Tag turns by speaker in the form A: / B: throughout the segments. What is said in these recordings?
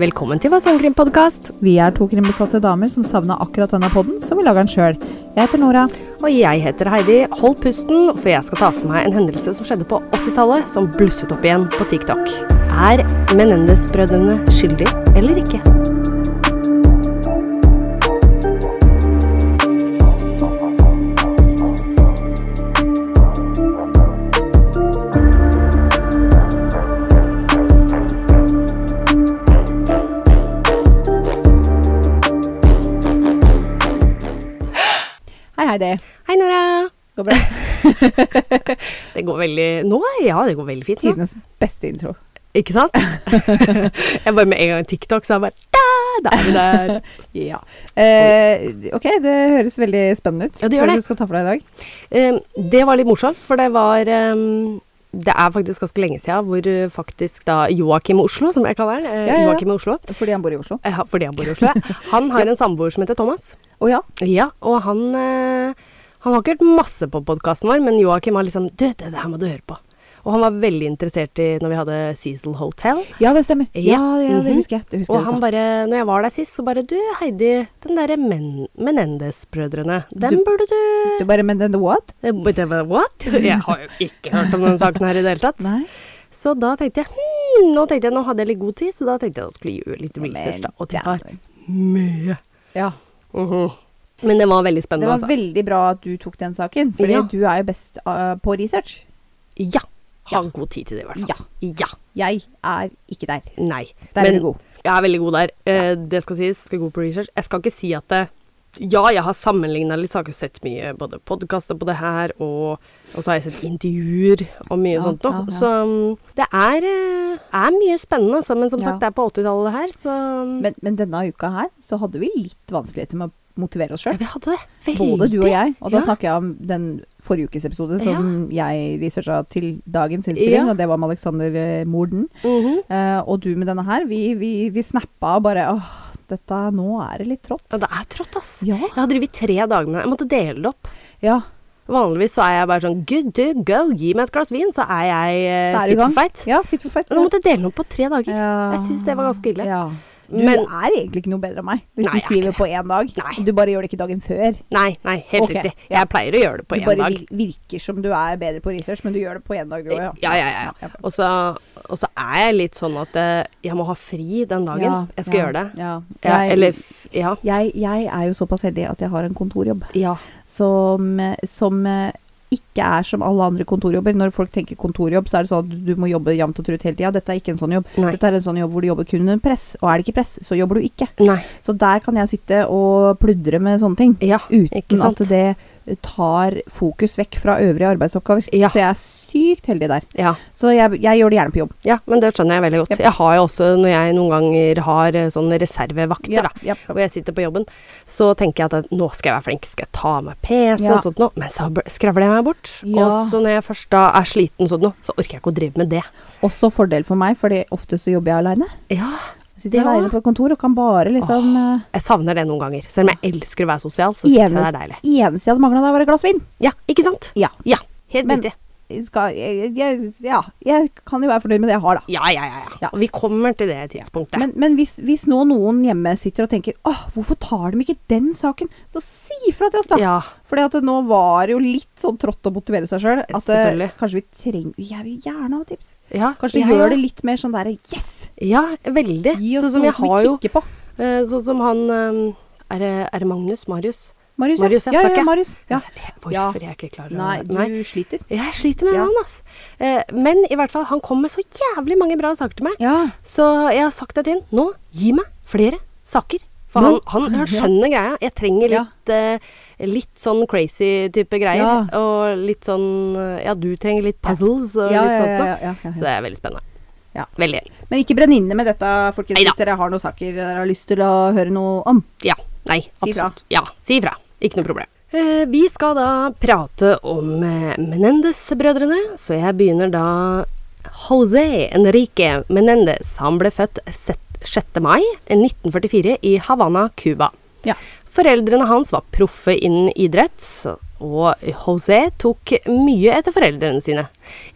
A: Velkommen til Fasongkrim podkast.
B: Vi er to krimbesatte damer som savna akkurat denne podden, så vi lager den sjøl. Jeg heter Nora.
A: Og jeg heter Heidi. Hold pusten, for jeg skal ta for meg en hendelse som skjedde på 80-tallet, som blusset opp igjen på TikTok. Er Menendez-brødrene skyldige eller ikke?
B: Hei, Heidi.
A: Hei, Nora.
B: Går bra?
A: Det går veldig Nå? Ja, det går veldig fint. nå.
B: Tidenes beste intro.
A: Ikke sant? jeg bare med en gang TikTok, så er jeg bare da, da er vi der.
B: Ja. Eh, ok, det høres veldig spennende ut.
A: Ja, det gjør
B: Hva er
A: det.
B: du skal ta for deg i dag?
A: Eh, Det var litt morsomt, for det var ehm, Det er faktisk ganske lenge siden hvor eh, faktisk da Joakim Oslo, som jeg kaller han, eh,
B: Ja, ja, ja.
A: Joakim Oslo,
B: Fordi han bor i Oslo.
A: eh, ha- fordi han bor i Oslo, ja. han har en samboer som heter Thomas.
B: Å ja.
A: Ja, og han eh, Han har ikke hørt masse på podkasten vår, men Joakim har liksom Du, det der må du høre på. Og han var veldig interessert i når vi hadde Cecil Hotel.
B: Ja, det stemmer.
A: Ja.
B: Ja, ja, det
A: Mhm.
B: husker jeg. Det husker
A: Og
B: jeg
A: han
B: også.
A: bare, når jeg var der sist, så bare Du, Heidi, den derre Men Menendez-brødrene, den
B: Du-
A: burde du
B: Du bare, men then the what?
A: Eh, but I was, What? Jeg har jo ikke hørt om den saken her i det hele tatt.
B: Nei.
A: Så da tenkte jeg hmm, Nå tenkte jeg, nå hadde jeg litt god tid, så da tenkte jeg at jeg skulle gjøre litt research. da. Og det var mye.
B: Ja.
A: Mhm. Men det var veldig
B: Det
A: spennende,
B: var
A: altså.
B: veldig bra at du tok den saken, fordi
A: Ja.
B: du er jo best eh, på research.
A: Ja. Ha
B: Ja.
A: god tid til det, i hvert
B: Ja.
A: fall. Ja.
B: Jeg er ikke der.
A: Nei.
B: Der
A: Men-
B: er du god.
A: Jeg er veldig god der. Eh, det skal sies. Skal god på research. Jeg skal ikke si at det Ja, jeg har sammenligna litt, så jeg har ikke sett mye både podkaster på det her, og, og så har jeg sett intervjuer og mye
B: Ja,
A: sånt noe.
B: ja, ja.
A: Så mm, det er, eh, er mye spennende, altså. Men som
B: Ja.
A: sagt, det er på 80-tallet det her, så
B: Men, men denne uka her så hadde vi litt vanskeligheter med å motivere oss sjøl.
A: ja, Vi hadde det. Veldig.
B: Både du og jeg. Og da
A: Ja.
B: snakker jeg om den forrige ukes episode som jeg researcha til dagens innspilling,
A: Ja.
B: og det var med Alexander eh, Morden.
A: Mhm.
B: Eh, og du med denne her. Vi, vi, vi snappa og bare åh, dette nå er det litt trått.
A: Ja, det er trått, ass.
B: Ja.
A: Jeg har drevet tre dager med det. Jeg måtte dele det opp.
B: ja.
A: Vanligvis så er jeg bare sånn good to go, gi meg et glass vin, så er jeg eh,
B: Så er du i
A: fit
B: gang.
A: for fight.
B: Ja, fit for fight.
A: Men Nå måtte jeg dele den opp på tre dager.
B: Ja.
A: Jeg syns det var ganske ille.
B: Ja. Du
A: Men
B: er egentlig ikke noe bedre enn meg hvis
A: Nei, jeg
B: du
A: er
B: skriver
A: ikke
B: på én dag.
A: Nei.
B: Du bare gjør det ikke dagen før.
A: nei, nei, helt
B: Ok,
A: riktig.
B: ja.
A: Jeg pleier å gjøre det på
B: Du
A: én
B: bare
A: dag.
B: vir- virker som du er bedre på research, men du gjør det på én dag, du òg, ja.
A: Ja, ja, ja. ja. Og så, og så er jeg litt sånn at eh, jeg må ha fri den dagen.
B: Ja,
A: jeg skal
B: ja,
A: gjøre det.
B: Ja.
A: Ja,
B: Jeg-
A: eller f- Ja.
B: jeg, jeg er jo såpass heldig at jeg har en kontorjobb
A: Ja.
B: som, som eh, ikke er som alle andre kontorjobber. Når folk tenker kontorjobb, så er det sånn at du må jobbe jevnt og trutt hele tida. Dette er ikke en sånn jobb.
A: Nei.
B: Dette er en sånn jobb hvor du jobber kun under press, og er det ikke press, så jobber du ikke.
A: Nei.
B: Så der kan jeg sitte og pludre med sånne ting.
A: Ja. Ikke
B: Uten
A: sant?
B: at det tar fokus vekk fra øvrige arbeidsoppgaver.
A: Ja.
B: Så jeg er sykt heldig der.
A: ja.
B: Så jeg, jeg gjør det gjerne på jobb.
A: Ja, men det skjønner jeg veldig godt.
B: Jep.
A: Jeg har jo også, når jeg noen ganger har eh, sånne reservevakter, da,
B: ja,
A: og jeg sitter på jobben, så tenker jeg at eh, nå skal jeg være flink, skal jeg ta meg PC
B: Ja.
A: og sånt noe, men så bl- skravler jeg meg bort.
B: Ja.
A: Og så når jeg først da er sliten sånn noe, så orker jeg ikke å drive med det.
B: Også fordel for meg, fordi ofte så jobber jeg aleine.
A: Ja,
B: Sitter
A: Ja.
B: aleine på kontor og kan bare liksom eh,
A: jeg savner det noen ganger. Selv om jeg elsker å være sosial, så synes jeg det er
B: Eneste,
A: deilig.
B: eneste jeg hadde mangla der, var et glass vin.
A: Ja, ikke sant?
B: Ja.
A: Ja, helt
B: Men-
A: riktig.
B: Skal, jeg, jeg, ja, jeg kan jo være fornøyd med det jeg har, da.
A: Ja, ja, ja, ja.
B: Ja.
A: Og vi kommer til det tidspunktet.
B: Men, men hvis, hvis nå noen hjemme sitter og tenker åh, hvorfor tar de ikke den saken, så si ifra til oss, da.
A: ja,
B: Fordi at det nå var det jo litt sånn trått å motivere seg sjøl. At eh,
A: Selvfølgelig.
B: kanskje vi trenger Jeg vil gjerne ha tips.
A: ja,
B: Kanskje
A: ja,
B: gjør
A: ja.
B: det litt mer sånn derre yes!
A: Ja, veldig.
B: Gi oss
A: Sånn som
B: noe
A: jeg
B: som
A: har
B: vi
A: jo
B: kikker på.
A: eh, Sånn som han eh, Er det, er det Magnus? Marius?
B: Marius,
A: Marius, ja,
B: ja. Ja,
A: takk, ja.
B: ja, Marius. Ja.
A: Hvorfor
B: Ja.
A: er jeg ikke klar over
B: Nei,
A: det? Nei.
B: du sliter.
A: Jeg sliter med
B: Ja.
A: han, ass. Eh, men i hvert fall, han kom med så jævlig mange bra saker til meg.
B: Ja.
A: Så jeg har sagt det til han. Nå, gi meg flere saker. For han,
B: Nå?
A: han, han skjønner greia. Jeg trenger
B: Ja.
A: litt, eh, litt sånn crazy type greier.
B: Ja.
A: Og litt sånn eh, Ja, du trenger litt puzzles og
B: Ja,
A: litt
B: ja,
A: sånt
B: ja,
A: noe.
B: ja, ja, ja.
A: Så det er veldig spennende.
B: Ja.
A: Veldig.
B: Men ikke brenn inne med dette, folkens,
A: Neida.
B: hvis dere har noen saker dere har lyst til å høre noe om.
A: Ja. Nei,
B: Si fra.
A: absolutt. Ja, si ifra. Ikke noe problem. Eh, vi skal da prate om eh, Menendez-brødrene, så jeg begynner da José Enrique Menendez. Han ble født set- 6. mai 1944 i Havana, Cuba.
B: Ja.
A: Foreldrene hans var proffe innen idrett, og José tok mye etter foreldrene sine.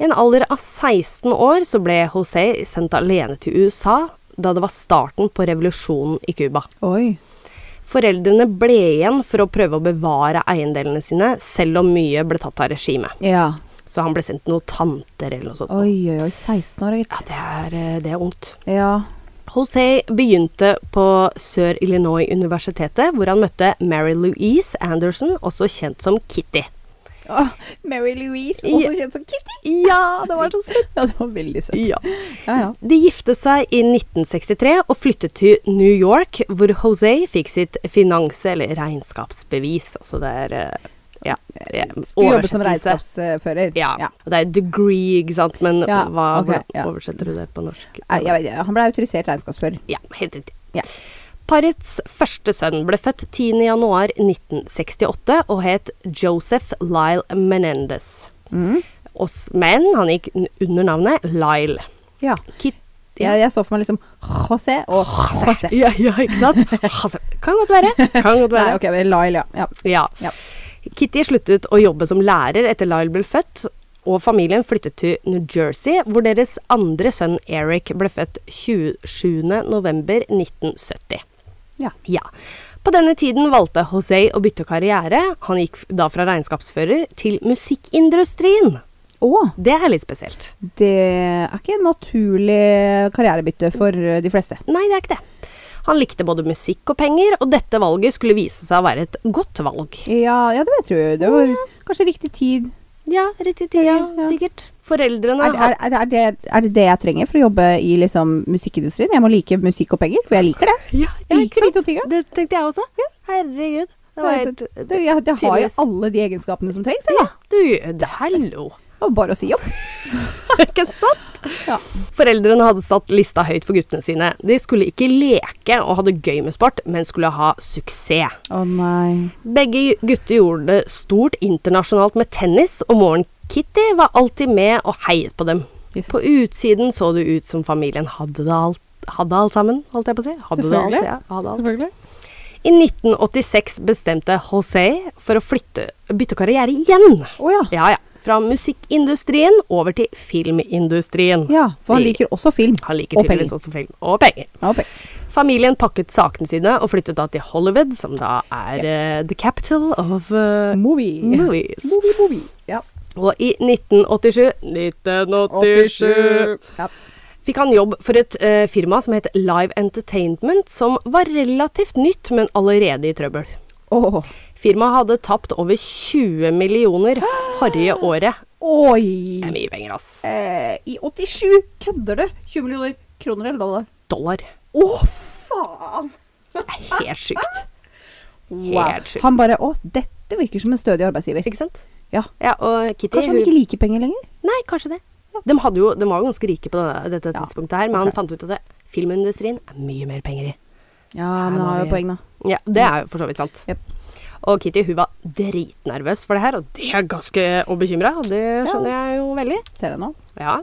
A: I en alder av 16 år så ble José sendt alene til USA da det var starten på revolusjonen i Cuba.
B: Oi.
A: Foreldrene ble igjen for å prøve å bevare eiendelene sine, selv om mye ble tatt av regimet.
B: Ja.
A: Så han ble sendt til noen tanter eller noe sånt.
B: Oi, oi, oi. 16 år,
A: Ja,
B: gitt.
A: det er, eh, det er ungt.
B: Ja.
A: José begynte på Sør-Illinois-universitetet, hvor han møtte Mary Louise Anderson, også kjent som Kitty.
B: Åh, Mary Louise,
A: Ja.
B: også kjent som Kitty.
A: Ja, det var så søtt!
B: Ja, det var veldig søtt.
A: Ja.
B: Ja, ja.
A: De gifte seg i 1963 og flyttet til New York, hvor José fikk sitt finanse- eller regnskapsbevis. Altså det er eh, ja, det er
B: Skulle jobbe som
A: oversettelse.
B: regnskapsfører.
A: Ja. og Det er degree, ikke sant, men
B: Ja,
A: hva,
B: ok,
A: hvordan
B: ja.
A: oversetter du det på norsk?
B: Nei, Jeg, vet ikke, han ble autorisert regnskapsfører.
A: Ja, helt riktig.
B: Ja.
A: Parets første sønn ble født 10.10.1968 og het Joseph Lyle Menendez.
B: Mm.
A: Og s- Men han gikk n- under navnet Lyle.
B: Ja.
A: Kit
B: Jeg, jeg så for meg liksom José og José.
A: ja, ja, ikke sant? Altså, Kan godt være. Kan godt
B: Nei,
A: være.
B: ok, men Lyle, ja. ja.
A: Ja.
B: Ja.
A: Kitty sluttet å jobbe som lærer etter Lyle ble født, og familien flyttet til New Jersey, hvor deres andre sønn Eric ble født 27.11.1970.
B: Ja.
A: ja. På denne tiden valgte José å bytte karriere. Han gikk f- da fra regnskapsfører til musikkindustrien.
B: Å,
A: Det er litt spesielt.
B: det er ikke naturlig karrierebytte for eh, de fleste.
A: Nei, det er ikke det. Han likte både musikk og penger, og dette valget skulle vise seg å være et godt valg.
B: Ja, ja det vet du. Det var kanskje riktig tid.
A: Ja, riktig tid,
B: Ja, ja.
A: sikkert. Foreldrene
B: Er, er, er, er, det, er det det jeg trenger for å jobbe i liksom, musikkindustrien? Jeg må like musikk og penger, for jeg liker det.
A: Ja,
B: Jeg
A: ikke
B: liker de
A: sant?
B: to tinga.
A: Det tenkte jeg også. Herregud. Det var helt
B: Det- det- Jeg, jeg har jo
A: tydeligvis.
B: alle de egenskapene som trengs. jeg,
A: Ja,
B: da.
A: du, det- hallo.
B: Det var bare å si opp.
A: ikke sant?
B: Ja.
A: Foreldrene hadde satt lista høyt for guttene sine. De skulle ikke leke og ha det gøy med sport, men skulle ha suksess.
B: Å nei.
A: Begge gutter gjorde det stort internasjonalt med tennis, og moren Kitty var alltid med og heiet på dem.
B: Yes.
A: På utsiden så det ut som familien hadde det alt, hadde alt sammen, holdt jeg på å si. Hadde det alt,
B: Selvfølgelig.
A: ja. Hadde alt.
B: Selvfølgelig.
A: I 1986 bestemte José for å flytte, bytte karriere igjen.
B: Å ja.
A: Ja, ja. Fra musikkindustrien over til filmindustrien.
B: ja. For han liker også film.
A: Han liker
B: Og
A: tydeligvis også film. Og penger.
B: Ja, og penger.
A: Familien pakket sakene sine og flyttet da til Hollywood, som da er eh, the capital of eh,
B: Movie.
A: movies.
B: Movie, movie. Ja.
A: Og i 1987 1987
B: Ja.
A: fikk han jobb for et eh, firma som het Live Entertainment, som var relativt nytt, men allerede i trøbbel.
B: Åh.
A: Firmaet hadde tapt over 20 millioner forrige året.
B: Oi!
A: Det er mye penger, ass.
B: Eh, I 87 kødder du! 20 millioner kroner eller dollar?
A: Dollar.
B: Å, faen!
A: Det er helt sykt.
B: Wow.
A: Helt sykt.
B: Han bare Å, dette virker som en stødig arbeidsgiver.
A: Ikke sant?
B: Ja.
A: Ja, og Kitty
B: Kanskje han ikke liker penger lenger?
A: Nei, kanskje det. De, hadde jo, de var jo ganske rike på denne- dette
B: Ja.
A: tidspunktet her, men han
B: Ok.
A: fant ut at det, filmindustrien er mye mer penger i.
B: Ja,
A: men han har jo poeng,
B: da.
A: Ja, Det er jo for så vidt sant.
B: Jep.
A: Og Kitty hun var dritnervøs for det her, og det er ganske og bekymra, og det skjønner jeg jo veldig.
B: Ser jeg nå.
A: Ja.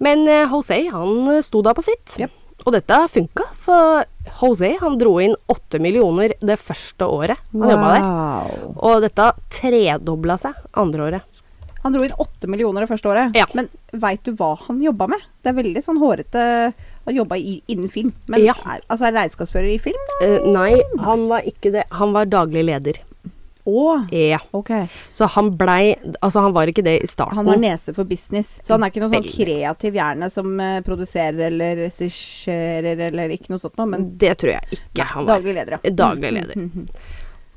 A: Men eh, José, han eh, sto da på sitt.
B: Jep.
A: Og dette funka, for José han dro inn åtte millioner det første året han jobba der.
B: Wow.
A: Og dette tredobla seg andre året.
B: Han dro inn åtte millioner det første året.
A: Ja.
B: Men veit du hva han jobba med? Det er veldig sånn hårete Han jobba i- innen film. Men
A: Ja.
B: er, altså, er regnskapsfører i film, da?
A: Eh, nei, han var ikke det. Han var daglig leder.
B: Å,
A: Ja.
B: ok.
A: Så han blei Altså, han var ikke det i starten.
B: Han har nese for business. Så han er ikke noen sånn
A: Veldig.
B: kreativ hjerne som eh, produserer eller regisserer eller ikke noe sånt noe, men
A: det tror jeg ikke han var.
B: daglig leder, Mm, ja.
A: Daglig leder.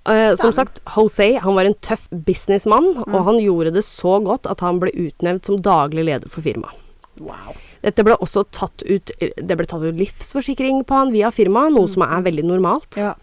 A: Eh, som sagt, José han var en tøff businessmann,
B: Mm.
A: og han gjorde det så godt at han ble utnevnt som daglig leder for firmaet.
B: Mm. Wow.
A: Dette ble også tatt ut Det ble tatt ut livsforsikring på han via firmaet, noe som er veldig normalt.
B: Ja.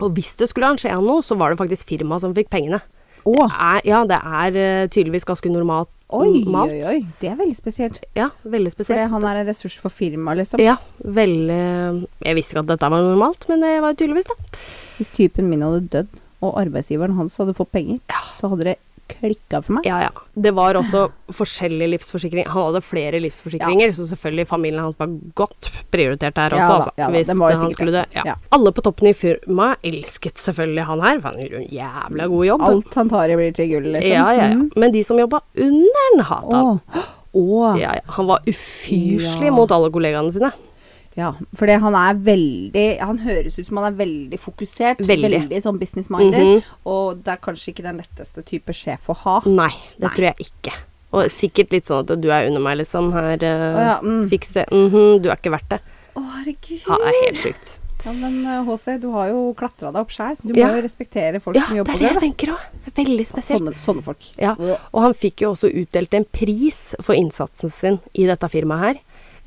A: Og hvis det skulle skje han noe, så var det faktisk firmaet som fikk pengene.
B: Å,
A: Det er, ja, det er eh, tydeligvis ganske normalt.
B: oi,
A: normalt.
B: oi, oi. Det er veldig spesielt.
A: Ja, veldig
B: Fordi
A: spesielt.
B: han er en ressurs for firmaet, liksom.
A: Ja, veldig Jeg visste ikke at dette var normalt, men det var tydeligvis det.
B: Hvis typen min hadde dødd, og arbeidsgiveren hans hadde fått penger, så hadde det klikka for meg.
A: Ja, ja. Det var også forskjellige livsforsikringer. Han hadde flere livsforsikringer, så selvfølgelig familien hans var godt prioritert der også,
B: Ja da,
A: altså.
B: ja da,
A: hvis
B: den var jo
A: han
B: sikkert
A: skulle dø.
B: det.
A: Ja.
B: Ja.
A: Alle på toppen i firmaet elsket selvfølgelig han her, for han gjorde en jævla god jobb.
B: Alt han tar i, blir til gull, liksom.
A: Ja, ja, ja.
B: Mm.
A: Men de som jobba under han, hata han.
B: Å. Å.
A: Ja, ja. Han var ufyrslig
B: Ja.
A: mot alle kollegaene sine.
B: Ja. Ja, for det- han er veldig Han høres ut som han er veldig fokusert.
A: Veldig.
B: Veldig, sånn business-minded.
A: Mhm. Mm.
B: Og det er kanskje ikke den letteste type sjef å ha.
A: Nei, det
B: Nei.
A: tror jeg ikke. Og sikkert litt sånn at du er under meg, liksom. Her, eh,
B: Å ja, mm.
A: fiks det. Mhm, du er ikke verdt det.
B: Å, herregud.
A: Ja, det er helt sjukt.
B: Ja, men eh, HC, du har jo klatra deg opp sjæl. Du må
A: Ja.
B: jo respektere folk
A: Ja,
B: som
A: det er
B: jobber
A: det jeg
B: der. da.
A: tenker òg. Veldig spesielt.
B: Sånne, sånne folk.
A: Ja. Og han fikk jo også utdelt en pris for innsatsen sin i dette firmaet her.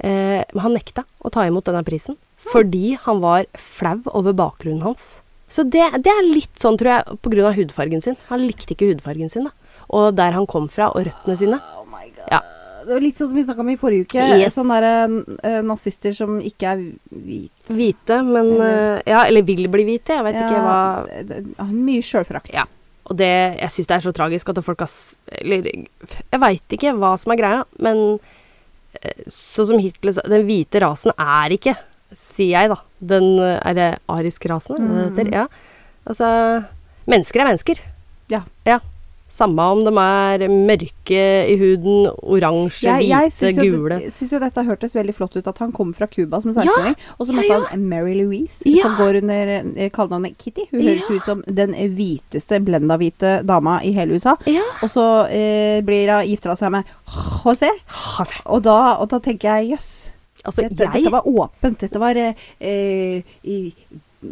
A: Eh, men han nekta å ta imot denne prisen fordi han var flau over bakgrunnen hans. Så det, det er litt sånn, tror jeg, pga. hudfargen sin. Han likte ikke hudfargen sin, da. Og der han kom fra, og røttene sine.
B: Oh my god.
A: Ja.
B: Det var litt sånn som vi snakka om i forrige uke.
A: Yes.
B: Sånne der, eh, nazister som ikke er hvite.
A: Hvite, men eh, Ja, eller vil bli hvite. Jeg vet ikke hva
B: Mye sjølforakt.
A: Ja. Og det, jeg syns det er så tragisk at folk har s- Eller jeg veit ikke hva som er greia, men eh, sånn som Hitler sa Den hvite rasen er ikke, sier jeg, da. Den eh, Er det arisk rasen er det
B: Mm.
A: det heter? Ja. Altså Mennesker er mennesker.
B: Ja.
A: ja. Samme om de er mørke i huden, oransje,
B: Jeg, jeg
A: hvite,
B: syns jo,
A: gule.
B: det- syns jo dette hørtes veldig flott ut, at han kom fra Cuba som 16-åring. og så
A: Ja,
B: møtte
A: ja.
B: han Mary Louise,
A: Ja.
B: som går under eh, kallenavnet Kitty. Hun høres
A: Ja.
B: ut som den hviteste blenda-hvite dama i hele USA.
A: Ja.
B: Og så eh, blir hun gifta seg med José,
A: Altså,
B: og da, og da tenker jeg jøss.
A: altså,
B: dette,
A: jeg
B: dette var åpent. Dette var eh, eh, i,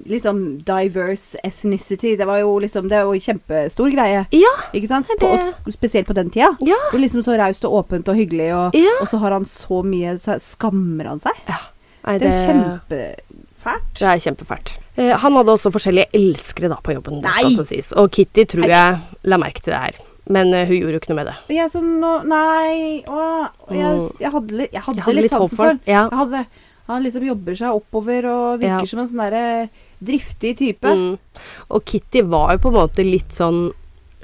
B: liksom diverse ethnicity. Det var jo liksom Det var jo kjempestor greie.
A: Ja.
B: Ikke sant?
A: Det er
B: På,
A: det.
B: og spesielt på den tida.
A: Ja.
B: Det er liksom så raust og åpent og hyggelig, og,
A: Ja.
B: og så har han så mye Så skammer han seg.
A: ja. Nei,
B: Det er jo
A: det-
B: kjempefælt.
A: Det er kjempefælt. Eh, han hadde også forskjellige elskere da på jobben. Det
B: Nei!
A: skal også sies. Og Kitty tror jeg la merke til det her. Men eh, hun gjorde jo ikke noe med det.
B: Og Jeg som nå Nei å, jeg, jeg hadde litt, jeg hadde litt, sansen for
A: den. Ja.
B: han. Jeg hadde, han liksom jobber seg oppover og
A: Ja.
B: virker som en sånn derre driftig type.
A: Mm. Og Kitty var jo på en måte litt sånn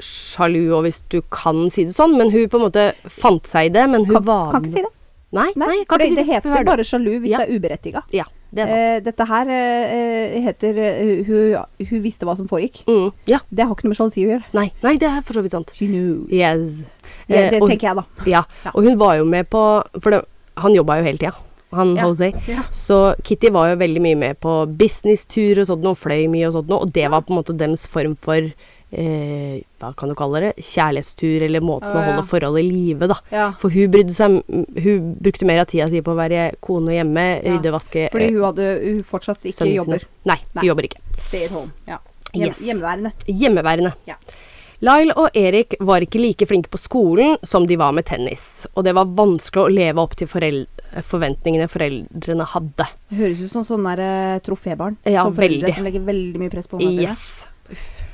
A: sjalu, og hvis du kan si det sånn, men hun på en måte fant seg i det. Men hun
B: Kan,
A: var
B: kan ikke si det.
A: Nei,
B: Nei,
A: nei, kan
B: for
A: ikke
B: det,
A: si
B: det
A: det. Hun
B: heter
A: er død.
B: bare sjalu hvis
A: Ja.
B: det er uberettiga.
A: Ja, det er sant.
B: Eh, dette her eh, eh, heter eh, hun, hun visste hva som foregikk.
A: Mm. Ja.
B: Det har ikke noe med sjalusi å gjøre.
A: Nei, nei, det er for så vidt sant.
B: She knew.
A: Yes.
B: Det,
A: Eh,
B: det
A: og-
B: tenker jeg, da.
A: Ja,
B: Ja.
A: og hun var jo med på For det, han jobba jo hele tida, han
B: Ja,
A: Jose.
B: ja.
A: Så Kitty var jo veldig mye med på businesstur og sånt, og fløy mye og sånt, og det var på en måte dems form for eh, Hva kan du kalle det? Kjærlighetstur, eller måten
B: Å,
A: å
B: ja.
A: holde forholdet i live, da.
B: Ja.
A: For hun brydde seg Hun brukte mer av tida si på å være kone hjemme,
B: Ja.
A: rydde, vaske
B: Fordi
A: eh,
B: hun, hadde, hun fortsatt ikke
A: sønnen sin.
B: jobber.
A: Nei,
B: Nei.
A: hun jobber ikke.
B: Stay at home. Ja. Hjem,
A: Yes.
B: Hjemmeværende.
A: Hjemmeværende.
B: Ja.
A: Lyle og Erik var ikke like flinke på skolen som de var med tennis, og det var vanskelig å leve opp til forel forventningene foreldrene hadde.
B: Det høres ut som sånne der, eh, trofébarn.
A: Ja,
B: som foreldre
A: veldig.
B: som legger veldig mye press på ungene sine.
A: Yes.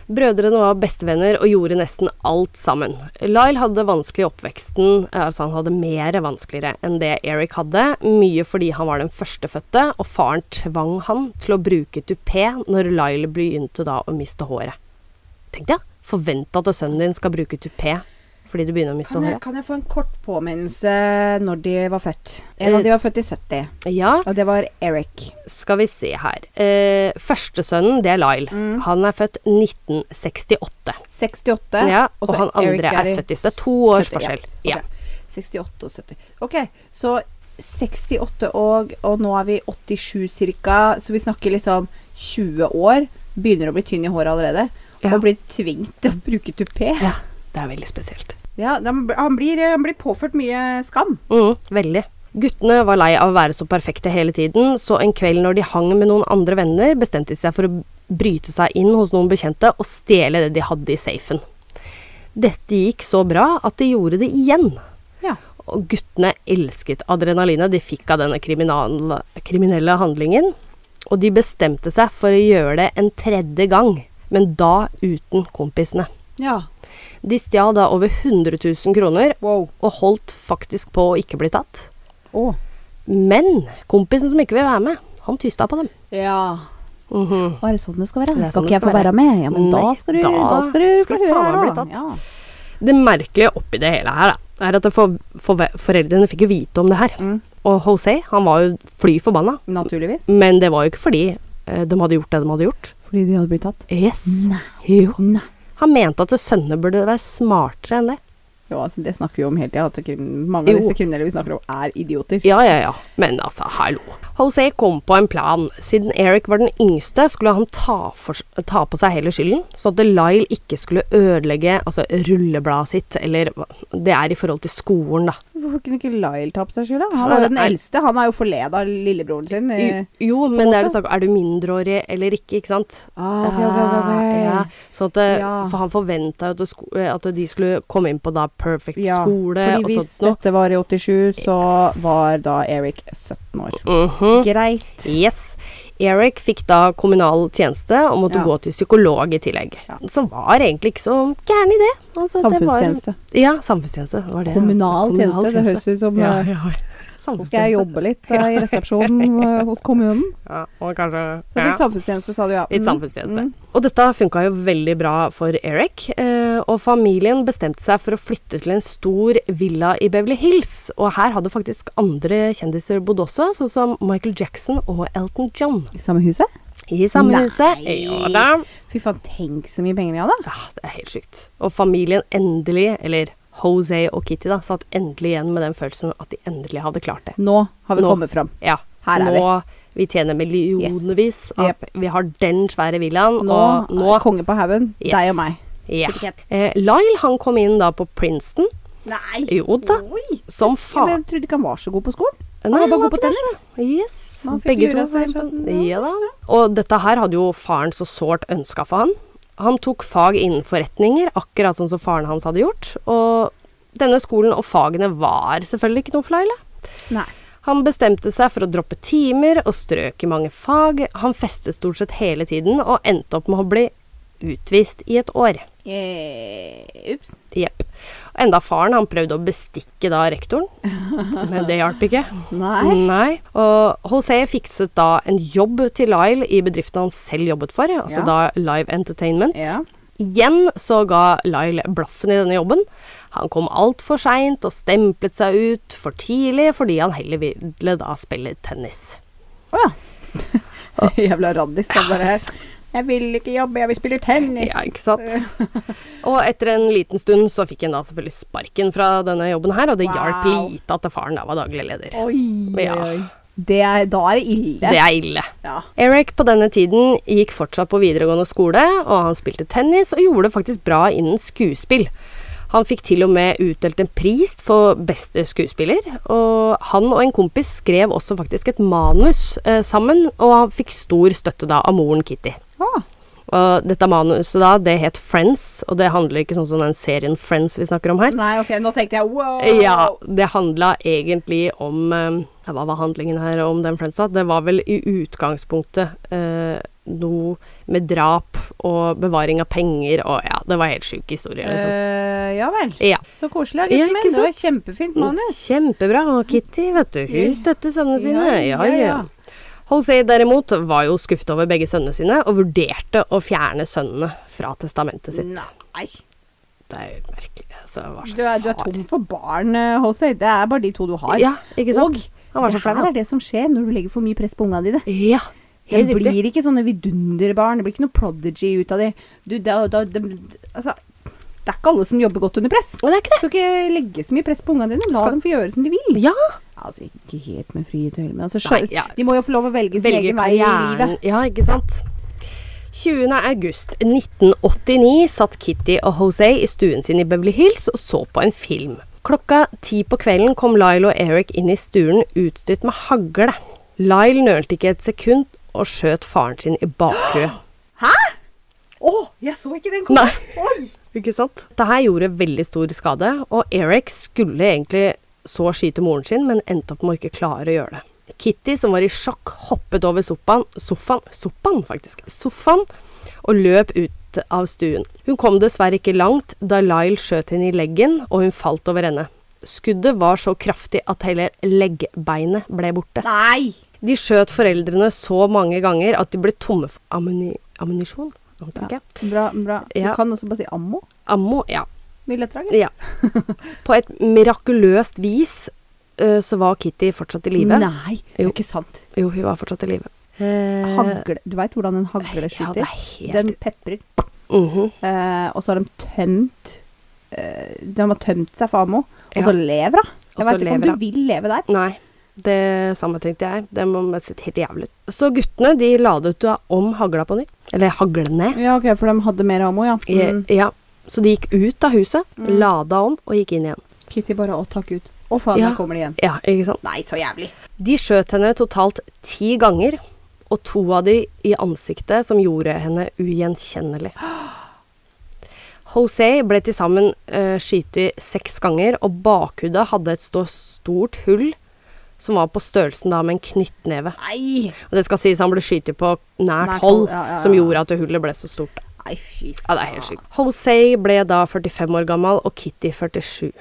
A: Brødrene var bestevenner og gjorde nesten alt sammen. Lyle hadde vanskelig i oppveksten, altså han hadde mer vanskeligere enn det Eric hadde, mye fordi han var den førstefødte, og faren tvang han til å bruke tupé når Lyle begynte da å miste håret. Tenk deg, forvente at sønnen din skal bruke tupé fordi du begynner å miste
B: Kan jeg,
A: håret.
B: kan jeg få en kort påminnelse når de var født? En
A: Eh,
B: av de var født i 70,
A: Ja,
B: og det var Eric.
A: skal vi se her. Eh, Førstesønnen, det er Lyle. Han er født 1968.
B: 68.
A: Ja, og
B: så
A: han andre
B: Eric
A: er
B: i
A: 70, så det er to års
B: 70,
A: forskjell.
B: Ja.
A: Ja.
B: Ok. 68 og 70. Ok, så 68 og, og nå er vi 87 cirka, så vi snakker liksom 20 år. Begynner å bli tynn i håret allerede.
A: Ja.
B: Og blir tvunget til å bruke tupé.
A: Ja, det er veldig spesielt.
B: Ja, da- han, blir, han blir påført mye skam.
A: Mm, veldig. Guttene var lei av å være så perfekte hele tiden, så en kveld når de hang med noen andre venner, bestemte de seg for å bryte seg inn hos noen bekjente og stjele det de hadde i safen. Dette gikk så bra at de gjorde det igjen.
B: Ja.
A: Og guttene elsket adrenalinet de fikk av denne kriminal- kriminelle handlingen. Og de bestemte seg for å gjøre det en tredje gang, men da uten kompisene.
B: ja.
A: De stjal da over 100 000 kroner,
B: Wow.
A: og holdt faktisk på å ikke bli tatt.
B: Å.
A: Men kompisen som ikke vil være med, han tysta på dem.
B: Ja.
A: Mhm.
B: Bare sånn det skal være.
A: Det er sånn
B: skal
A: det
B: ikke jeg
A: skal
B: få
A: være.
B: være med? Ja, men da
A: Nei,
B: skal du,
A: da
B: da skal du
A: skal
B: få
A: du
B: høre
A: faen
B: her,
A: meg
B: da.
A: bli tatt.
B: Ja.
A: Det merkelige oppi det hele her, da, er at for, for, foreldrene fikk jo vite om det her.
B: Mm.
A: Og Jose, han var jo fly forbanna.
B: Naturligvis.
A: Men det var jo ikke fordi eh, de hadde gjort det de hadde gjort.
B: Fordi de hadde blitt tatt.
A: Yes.
B: Nei.
A: Jo.
B: Nei.
A: Han mente at sønnene burde være smartere enn det.
B: snakker om, altså, det snakker vi om hele tida. at krim- Mange av
A: Jo.
B: disse kriminelle vi snakker om, er idioter.
A: Ja, ja, ja. Men altså, hallo. José kom på en plan. Siden Eric var den yngste, skulle han ta, for, ta på seg hele skylden, sånn at Lyle ikke skulle ødelegge altså, rullebladet sitt, eller hva- Det er i forhold til skolen, da.
B: Hvorfor kunne ikke Lyle ta på seg skylda? Han er jo den
A: Nei.
B: eldste. Han er jo forleda av lillebroren sin.
A: Jo,
B: eh.
A: jo men det er det
B: måte.
A: snakk om. Er du mindreårig eller ikke, ikke sant?
B: Ah, ok, ok, ok, ok.
A: Ah, Ja, sånn at eh,
B: Ja.
A: For han forventa jo at, det sko- eh, at de skulle komme inn på da perfect
B: Ja,
A: skole
B: fordi
A: og
B: hvis
A: sånt noe.
B: dette var i 87, så
A: Yes.
B: var da Eric 17 år.
A: Mhm.
B: Greit.
A: Yes. Eric fikk da kommunal tjeneste og måtte
B: Ja.
A: gå til psykolog i tillegg.
B: Ja.
A: Som var egentlig ikke så gæren idé. Altså, det var-
B: Samfunnstjeneste.
A: Ja, samfunnstjeneste. det Var det.
B: Kommunal
A: Kommunal
B: tjeneste. Det høres ut som
A: ja,
B: eh,
A: ja.
B: Nå skal jeg jobbe litt eh, i resepsjonen eh, hos kommunen.
A: Ja, og kanskje
B: Så fikk samfunnstjeneste, sa du ja.
A: Litt
B: Mm,
A: samfunnstjeneste.
B: mm.
A: Og dette funka jo veldig bra for Eric, eh, og familien bestemte seg for å flytte til en stor villa i Beverly Hills. Og her hadde faktisk andre kjendiser bodd også, sånn som Michael Jackson og Elton John.
B: Mm. I samme huset?
A: I samme
B: Nei.
A: huset. Ja da.
B: Fy faen, tenk så mye penger de hadde.
A: Ja, Ah, det er helt sykt. Og familien endelig, eller Jose og Kitty da, satt endelig igjen med den følelsen at de endelig hadde klart det.
B: Nå har vi
A: Nå.
B: kommet fram.
A: Ja,
B: Her er
A: nå vi tjener millionevis. av-
B: Yep.
A: Vi har den svære villaen,
B: Nå,
A: og nå
B: er konge på haugen.
A: Yes.
B: Deg og meg.
A: ja.
B: Kikk, kikk.
A: eh, Lyle han kom inn da på Princeton,
B: Nei!
A: Jo da.
B: Oi.
A: som
B: Ja, men
A: faen
B: jeg trodde ikke han var så god på skolen.
A: Nei,
B: var bare
A: han
B: god på
A: ikke det, så. Yes.
B: Han fikk
A: Begge to
B: lura
A: var
B: seg
A: på-
B: sånn,
A: Ja da. Og dette her hadde jo faren så sårt ønska for han. Han tok fag innen forretninger, akkurat sånn som faren hans hadde gjort. Og denne skolen og fagene var selvfølgelig ikke noe for Laila.
B: Nei.
A: Han bestemte seg for å droppe timer og strøk i mange fag. Han festet stort sett hele tiden og endte opp med å bli utvist i et år.
B: Eh, ups.
A: Jepp. Og Enda faren han prøvde å bestikke da rektoren, men det hjalp ikke.
B: Nei.
A: Nei. Og José fikset da en jobb til Lyle i bedriften han selv jobbet for, altså
B: Ja.
A: da Live Entertainment.
B: Ja.
A: Igjen så ga Lyle blaffen i denne jobben. Han kom altfor seint og stemplet seg ut for tidlig fordi han heller ville da spille tennis.
B: Å
A: Ah.
B: ja. Jævla raddis. Han bare her. Jeg vil ikke jobbe, jeg vil spille tennis.
A: Ja, ikke sant? Og etter en liten stund så fikk han da selvfølgelig sparken fra denne jobben her, og det hjalp
B: Wow.
A: lite at faren da var daglig leder.
B: Oi, oi,
A: Ja.
B: oi. Det er, da er det ille.
A: Det er ille.
B: Ja.
A: Eric på denne tiden gikk fortsatt på videregående skole, og han spilte tennis og gjorde det faktisk bra innen skuespill. Han fikk til og med utdelt en pris for beste skuespiller, og han og en kompis skrev også faktisk et manus eh, sammen, og han fikk stor støtte da av moren Kitty.
B: Ah,
A: Og dette manuset da, det het Friends, og det handler ikke sånn som den serien Friends vi snakker om her.
B: nei, ok, nå tenkte jeg wow!
A: Ja, det handla egentlig om eh, Hva var handlingen her om den Friendsa? Det var vel i utgangspunktet eh, noe med drap og bevaring av penger og ja, det var helt sjuk historie, liksom.
B: Eh, ja vel.
A: Ja.
B: Så koselig,
A: Ja,
B: gutten
A: ikke
B: min. Det var
A: sant? Mm.
B: kjempefint manus.
A: Kjempebra. Og Kitty, vet du,
B: Ja.
A: hun støtter sønnene sine.
B: Ja,
A: Ja,
B: ja,
A: ja.
B: ja.
A: Jose derimot var jo skuffet over begge sønnene sine og vurderte å fjerne sønnene fra testamentet sitt.
B: Nei.
A: Det er jo merkelig. Altså, hva slags
B: Du er, du er
A: far?
B: tom for barn, eh, Jose. Det er bare de to du har.
A: Ja, ikke sant?
B: Og
A: Han var så
B: det
A: flau,
B: her
A: han.
B: er det som skjer når du legger for mye press på unga dine.
A: Ja,
B: Det
A: helt riktig.
B: blir ikke sånne vidunderbarn. Det blir ikke noe prodigy ut av de. Du, da, da, dem- altså, det er ikke alle som jobber godt under press.
A: Men det er ikke det.
B: Du skal ikke legge så mye press på unga dine. La
A: Skal-
B: dem få gjøre som de vil.
A: Ja,
B: Altså, ikke helt med frie tøyler, men altså,
A: Nei,
B: skjø-
A: ja.
B: de må jo få lov å velge sin
A: velge
B: egen vei i
A: karrieren.
B: livet.
A: Ja, ikke sant? 20. august 1989 satt Kitty og Jose i stuen sin i Beverly Hills og så på en film. Klokka ti på kvelden kom Lyle og Eric inn i stuen utstyrt med hagle. Lyle nølte ikke et sekund og skjøt faren sin i bakhuet.
B: Å, jeg så ikke den
A: Nei.
B: Oi!
A: Ikke sant? Dette gjorde veldig stor skade, og Eric skulle egentlig så skyte moren sin, men endte opp med å ikke klare å gjøre det. Kitty, som var i sjokk, hoppet over sofaen, sofaen, sofaen faktisk, sofaen, og løp ut av stuen. Hun kom dessverre ikke langt da Lyle skjøt henne i leggen, og hun falt over ende. Skuddet var så kraftig at hele leggbeinet ble borte.
B: Nei!
A: De skjøt foreldrene så mange ganger at de ble tomme for ammuni- ammunisjon, antar jeg.
B: Bra, bra.
A: Ja.
B: Du kan også bare si ammo.
A: Ammo, ja.
B: Mye lettere. ikke?
A: Ja. På et mirakuløst vis eh, så var Kitty fortsatt i live.
B: Nei, det er
A: Jo.
B: ikke sant.
A: Jo, hun var fortsatt i live. Eh,
B: Hagle. Du veit hvordan en hagle
A: Ja, det
B: skyter?
A: er helt
B: Den peprer,
A: Mhm.
B: eh, og så har de tømt eh, De har tømt seg for ammo, og
A: Ja.
B: så lever hun.
A: Og
B: Jeg
A: så
B: veit ikke om
A: lever
B: du
A: hun.
B: vil leve der.
A: Nei. Det samme tenkte jeg. Det må ha sett helt jævlig ut. Så guttene de ladet jo om hagla på nytt. Eller haglene.
B: Ja, ok, for de hadde mer ammo, ja.
A: I-
B: Mm.
A: Ja. Så de gikk ut av huset,
B: Mm.
A: lada om og gikk inn igjen.
B: Kitty bare å takk ut. Å faen,
A: Ja.
B: der kommer de igjen.
A: Ja, ikke sant?
B: Nei, så jævlig.
A: De skjøt henne totalt ti ganger, og to av de i ansiktet som gjorde henne ugjenkjennelig. Jose ble til sammen uh, skytet seks ganger, og bakhudet hadde et stå- stort hull som var på størrelsen da med en knyttneve.
B: Nei!
A: Og det skal sies han ble skytet på nært
B: Nært
A: hold,
B: hold, ja, ja, ja.
A: som gjorde at hullet ble så stort. da.
B: Nei, fy
A: Ja, det er helt sykt. Jose ble da 45 år gammel og Kitty 47.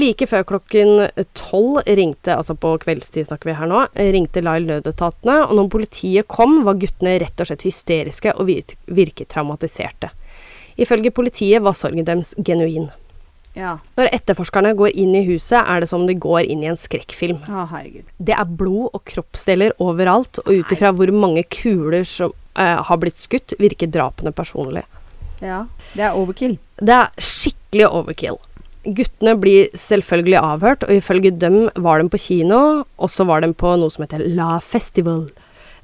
A: Like før klokken 12 ringte, altså på kveldstid snakker vi her nå, ringte Lyle nødetatene, og når politiet kom, var guttene rett og slett hysteriske og vir- virket traumatiserte. Ifølge politiet var sorgen deres genuin.
B: Ja.
A: Når etterforskerne går inn i huset, er det som om de går inn i en skrekkfilm.
B: Å, herregud.
A: Det er blod og kroppsdeler overalt, og ut ifra hvor mange kuler som eh, har blitt skutt, virker drapene personlige.
B: Ja. Det er overkill.
A: Det er skikkelig overkill. Guttene blir selvfølgelig avhørt, og ifølge dem var de på kino, og så var de på noe som heter La Festival,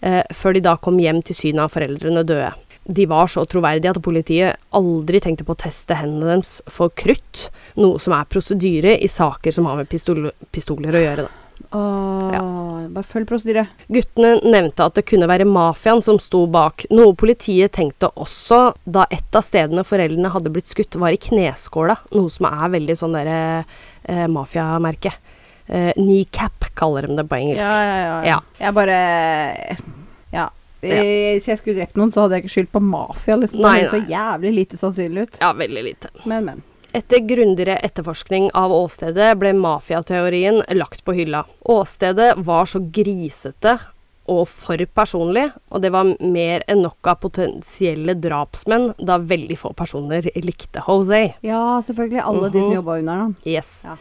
A: eh, før de da kom hjem til synet av foreldrene døde. De var så troverdige at politiet aldri tenkte på å teste hendene deres for krutt, noe som er prosedyre i saker som har med pistol pistoler å gjøre. Da.
B: Åh, Bare følg prosedyre.
A: Guttene nevnte at det kunne være mafiaen som sto bak, noe politiet tenkte også da et av stedene foreldrene hadde blitt skutt, var i kneskåla, noe som er veldig sånn derre eh, mafiamerke. Eh, kneecap kaller de det på engelsk.
B: ja,
A: Ja.
B: Jeg bare Ja. Eh, Hvis jeg skulle drept noen, så hadde jeg ikke skyldt på mafia. Liksom.
A: Nei,
B: det høres så jævlig lite sannsynlig ut.
A: ja veldig lite.
B: Men, men.
A: Etter grundigere etterforskning av åstedet ble mafiateorien lagt på hylla. Åstedet var så grisete og for personlig, og det var mer enn nok av potensielle drapsmenn, da veldig få personer likte Jose.
B: Ja, selvfølgelig. Alle de som
A: Mhm.
B: jobba under ham.
A: Yes.
B: Ja.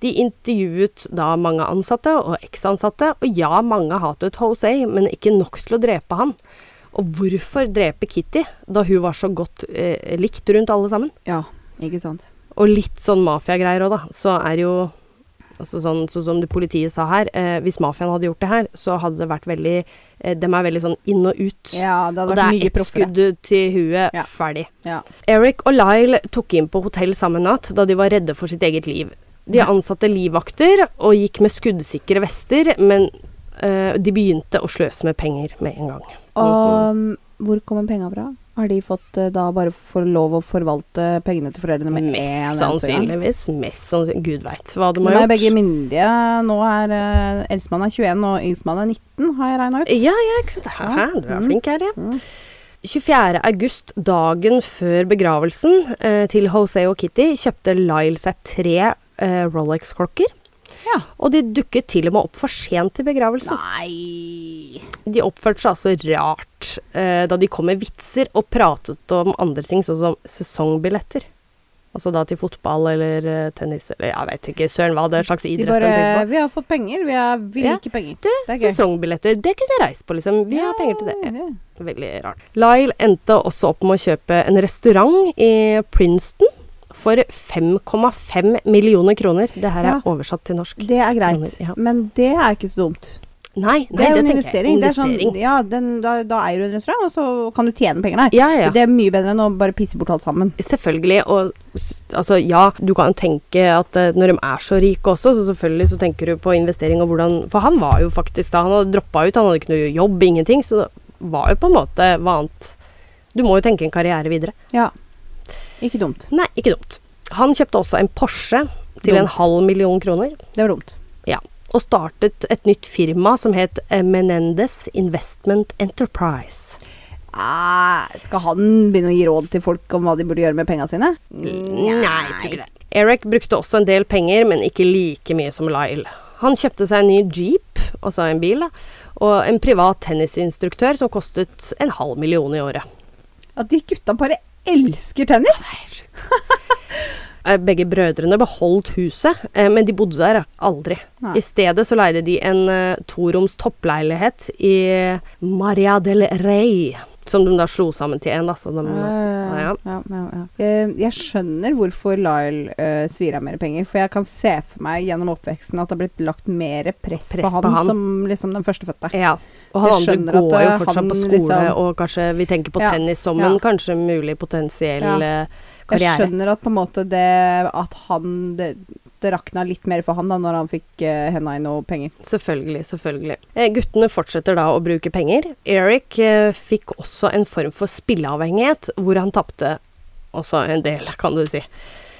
A: De intervjuet da mange ansatte og eksansatte, og ja, mange hatet Jose, men ikke nok til å drepe han. Og hvorfor drepe Kitty, da hun var så godt eh, likt rundt alle sammen?
B: Ja, ikke sant.
A: Og litt sånn mafiagreier òg, da. Så er jo altså sånn, sånn som det politiet sa her, eh, hvis mafiaen hadde gjort det her, så hadde det vært veldig eh, De er veldig sånn inn og ut.
B: Ja, det hadde
A: og det
B: vært
A: er
B: mye
A: ett
B: proffere.
A: skudd til huet,
B: Ja.
A: ferdig.
B: Ja.
A: Eric og Lyle tok inn på hotell samme natt da de var redde for sitt eget liv. De ansatte livvakter og gikk med skuddsikre vester, men eh, de begynte å sløse med penger med en gang.
B: Og um, hvor kommer penga fra? Har de fått eh, da bare for lov å forvalte pengene til foreldrene med en
A: mest
B: eneste gang?
A: sannsynligvis. Mest sannsynlig. Gud veit hva de
B: Nå
A: har
B: er
A: gjort.
B: begge myndige. Nå er eh, eldstemann er 21, og yngstemann er 19, har jeg regna ut.
A: Ja, ja, ikke sant. Hæ, du er
B: Mm.
A: flink her, ja.
B: Mm.
A: 24. august, dagen før begravelsen eh, til Jose og Kitty, kjøpte Lyle seg tre eh, Rolex-klokker.
B: Ja.
A: Og de dukket til og med opp for sent til begravelsen.
B: Nei
A: De oppførte seg altså rart eh, da de kom med vitser og pratet om andre ting, sånn som sesongbilletter. Altså da til fotball eller eh, tennis eller jeg veit ikke, søren hva det er slags
B: De
A: idrett de
B: bare
A: tenker på.
B: Vi har fått penger. Vi, er, vi
A: Ja.
B: liker penger.
A: Du,
B: det er gøy.
A: sesongbilletter, det kunne vi reist på, liksom. Vi har
B: Ja,
A: penger til det. Ja.
B: det.
A: Veldig rart. Lyle endte også opp med å kjøpe en restaurant i Princeton for 5,5 millioner kroner. Det her er
B: Ja.
A: oversatt til norsk.
B: Det er greit,
A: Ja.
B: men det er ikke så dumt.
A: Nei, nei
B: Det er jo en
A: tenker jeg.
B: investering. Det er sånn, ja, den, da, da eier du en restaurant, og så kan du tjene penger der.
A: ja, ja, ja.
B: Det er mye bedre enn å bare pisse bort alt sammen.
A: Selvfølgelig. Og s- altså, ja, du kan jo tenke at eh, når de er så rike også, så selvfølgelig så tenker du på investering og hvordan For han var jo faktisk da Han hadde droppa ut, han hadde ikke noe jobb, ingenting. Så det var jo på en måte hva annet Du må jo tenke en karriere videre.
B: Ja. Ikke dumt.
A: Nei, ikke dumt. Han kjøpte også en Porsche til
B: Dumt.
A: en halv million kroner.
B: Det var dumt.
A: Ja. Og startet et nytt firma som het eh, Menendez Investment Enterprise.
B: Eh, skal han begynne å gi råd til folk om hva de burde gjøre med penga sine?
A: jeg tror ikke det. Eric brukte også en del penger, men ikke like mye som Lyle. Han kjøpte seg en ny jeep, altså en bil, da, og en privat tennisinstruktør som kostet en halv million i året.
B: At de gutta bare elsker tennis!
A: Eh, Begge brødrene beholdt huset, eh, men de bodde der aldri.
B: Nei.
A: I stedet så leide de en eh, toroms toppleilighet i Maria del Rey. Som de da slo sammen til én, da. Så de,
B: Ah. Ja,
A: ja.
B: ja, ja, ja, ja. Eh, Jeg skjønner hvorfor Lyle eh, svir av mer penger, for jeg kan se for meg gjennom oppveksten at det har blitt lagt mer press,
A: Press
B: på, han
A: på han. Eh,
B: som liksom den førstefødte.
A: ja. Og han
B: Jeg skjønner
A: andre
B: at,
A: går jo
B: eh,
A: fortsatt
B: han
A: på skole,
B: liksom-
A: og kanskje vi tenker på
B: Ja,
A: tennis som
B: ja.
A: en kanskje mulig potensiell
B: Ja.
A: eh,
B: Jeg
A: karriere.
B: skjønner at på en måte det at han det, det rakna litt mer for han da når han fikk eh, henda i noe penger.
A: Selvfølgelig, selvfølgelig. Eh, guttene fortsetter da å bruke penger. Eric eh, fikk også en form for spilleavhengighet, hvor han tapte også en del, kan du si.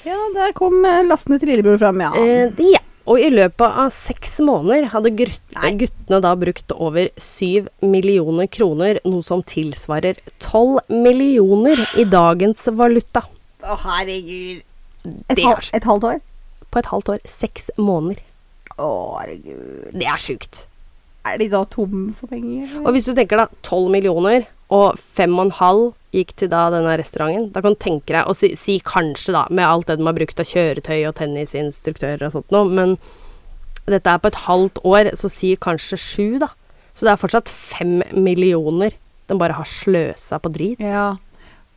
B: Ja, der kom eh, lastende trillebror fram, ja.
A: Eh, de- ja. Og i løpet av seks måneder hadde grut-
B: Nei.
A: guttene da brukt over syv millioner kroner, noe som tilsvarer tolv millioner i dagens valuta.
B: Å, herregud. Et,
A: Det
B: hal
A: er sjukt.
B: et halvt år?
A: På et halvt år. Seks måneder.
B: Å, herregud.
A: Det er sjukt.
B: Er de da tom for penger? eller?
A: Og hvis du tenker da, tolv millioner, og fem og en halv gikk til da denne restauranten, da kan du tenke deg, og si, si kanskje da, med alt det de har brukt av kjøretøy og tennisinstruktører og sånt nå, men dette er på et halvt år, så si kanskje sju da. Så det er fortsatt fem millioner de bare har sløsa på drit.
B: Ja.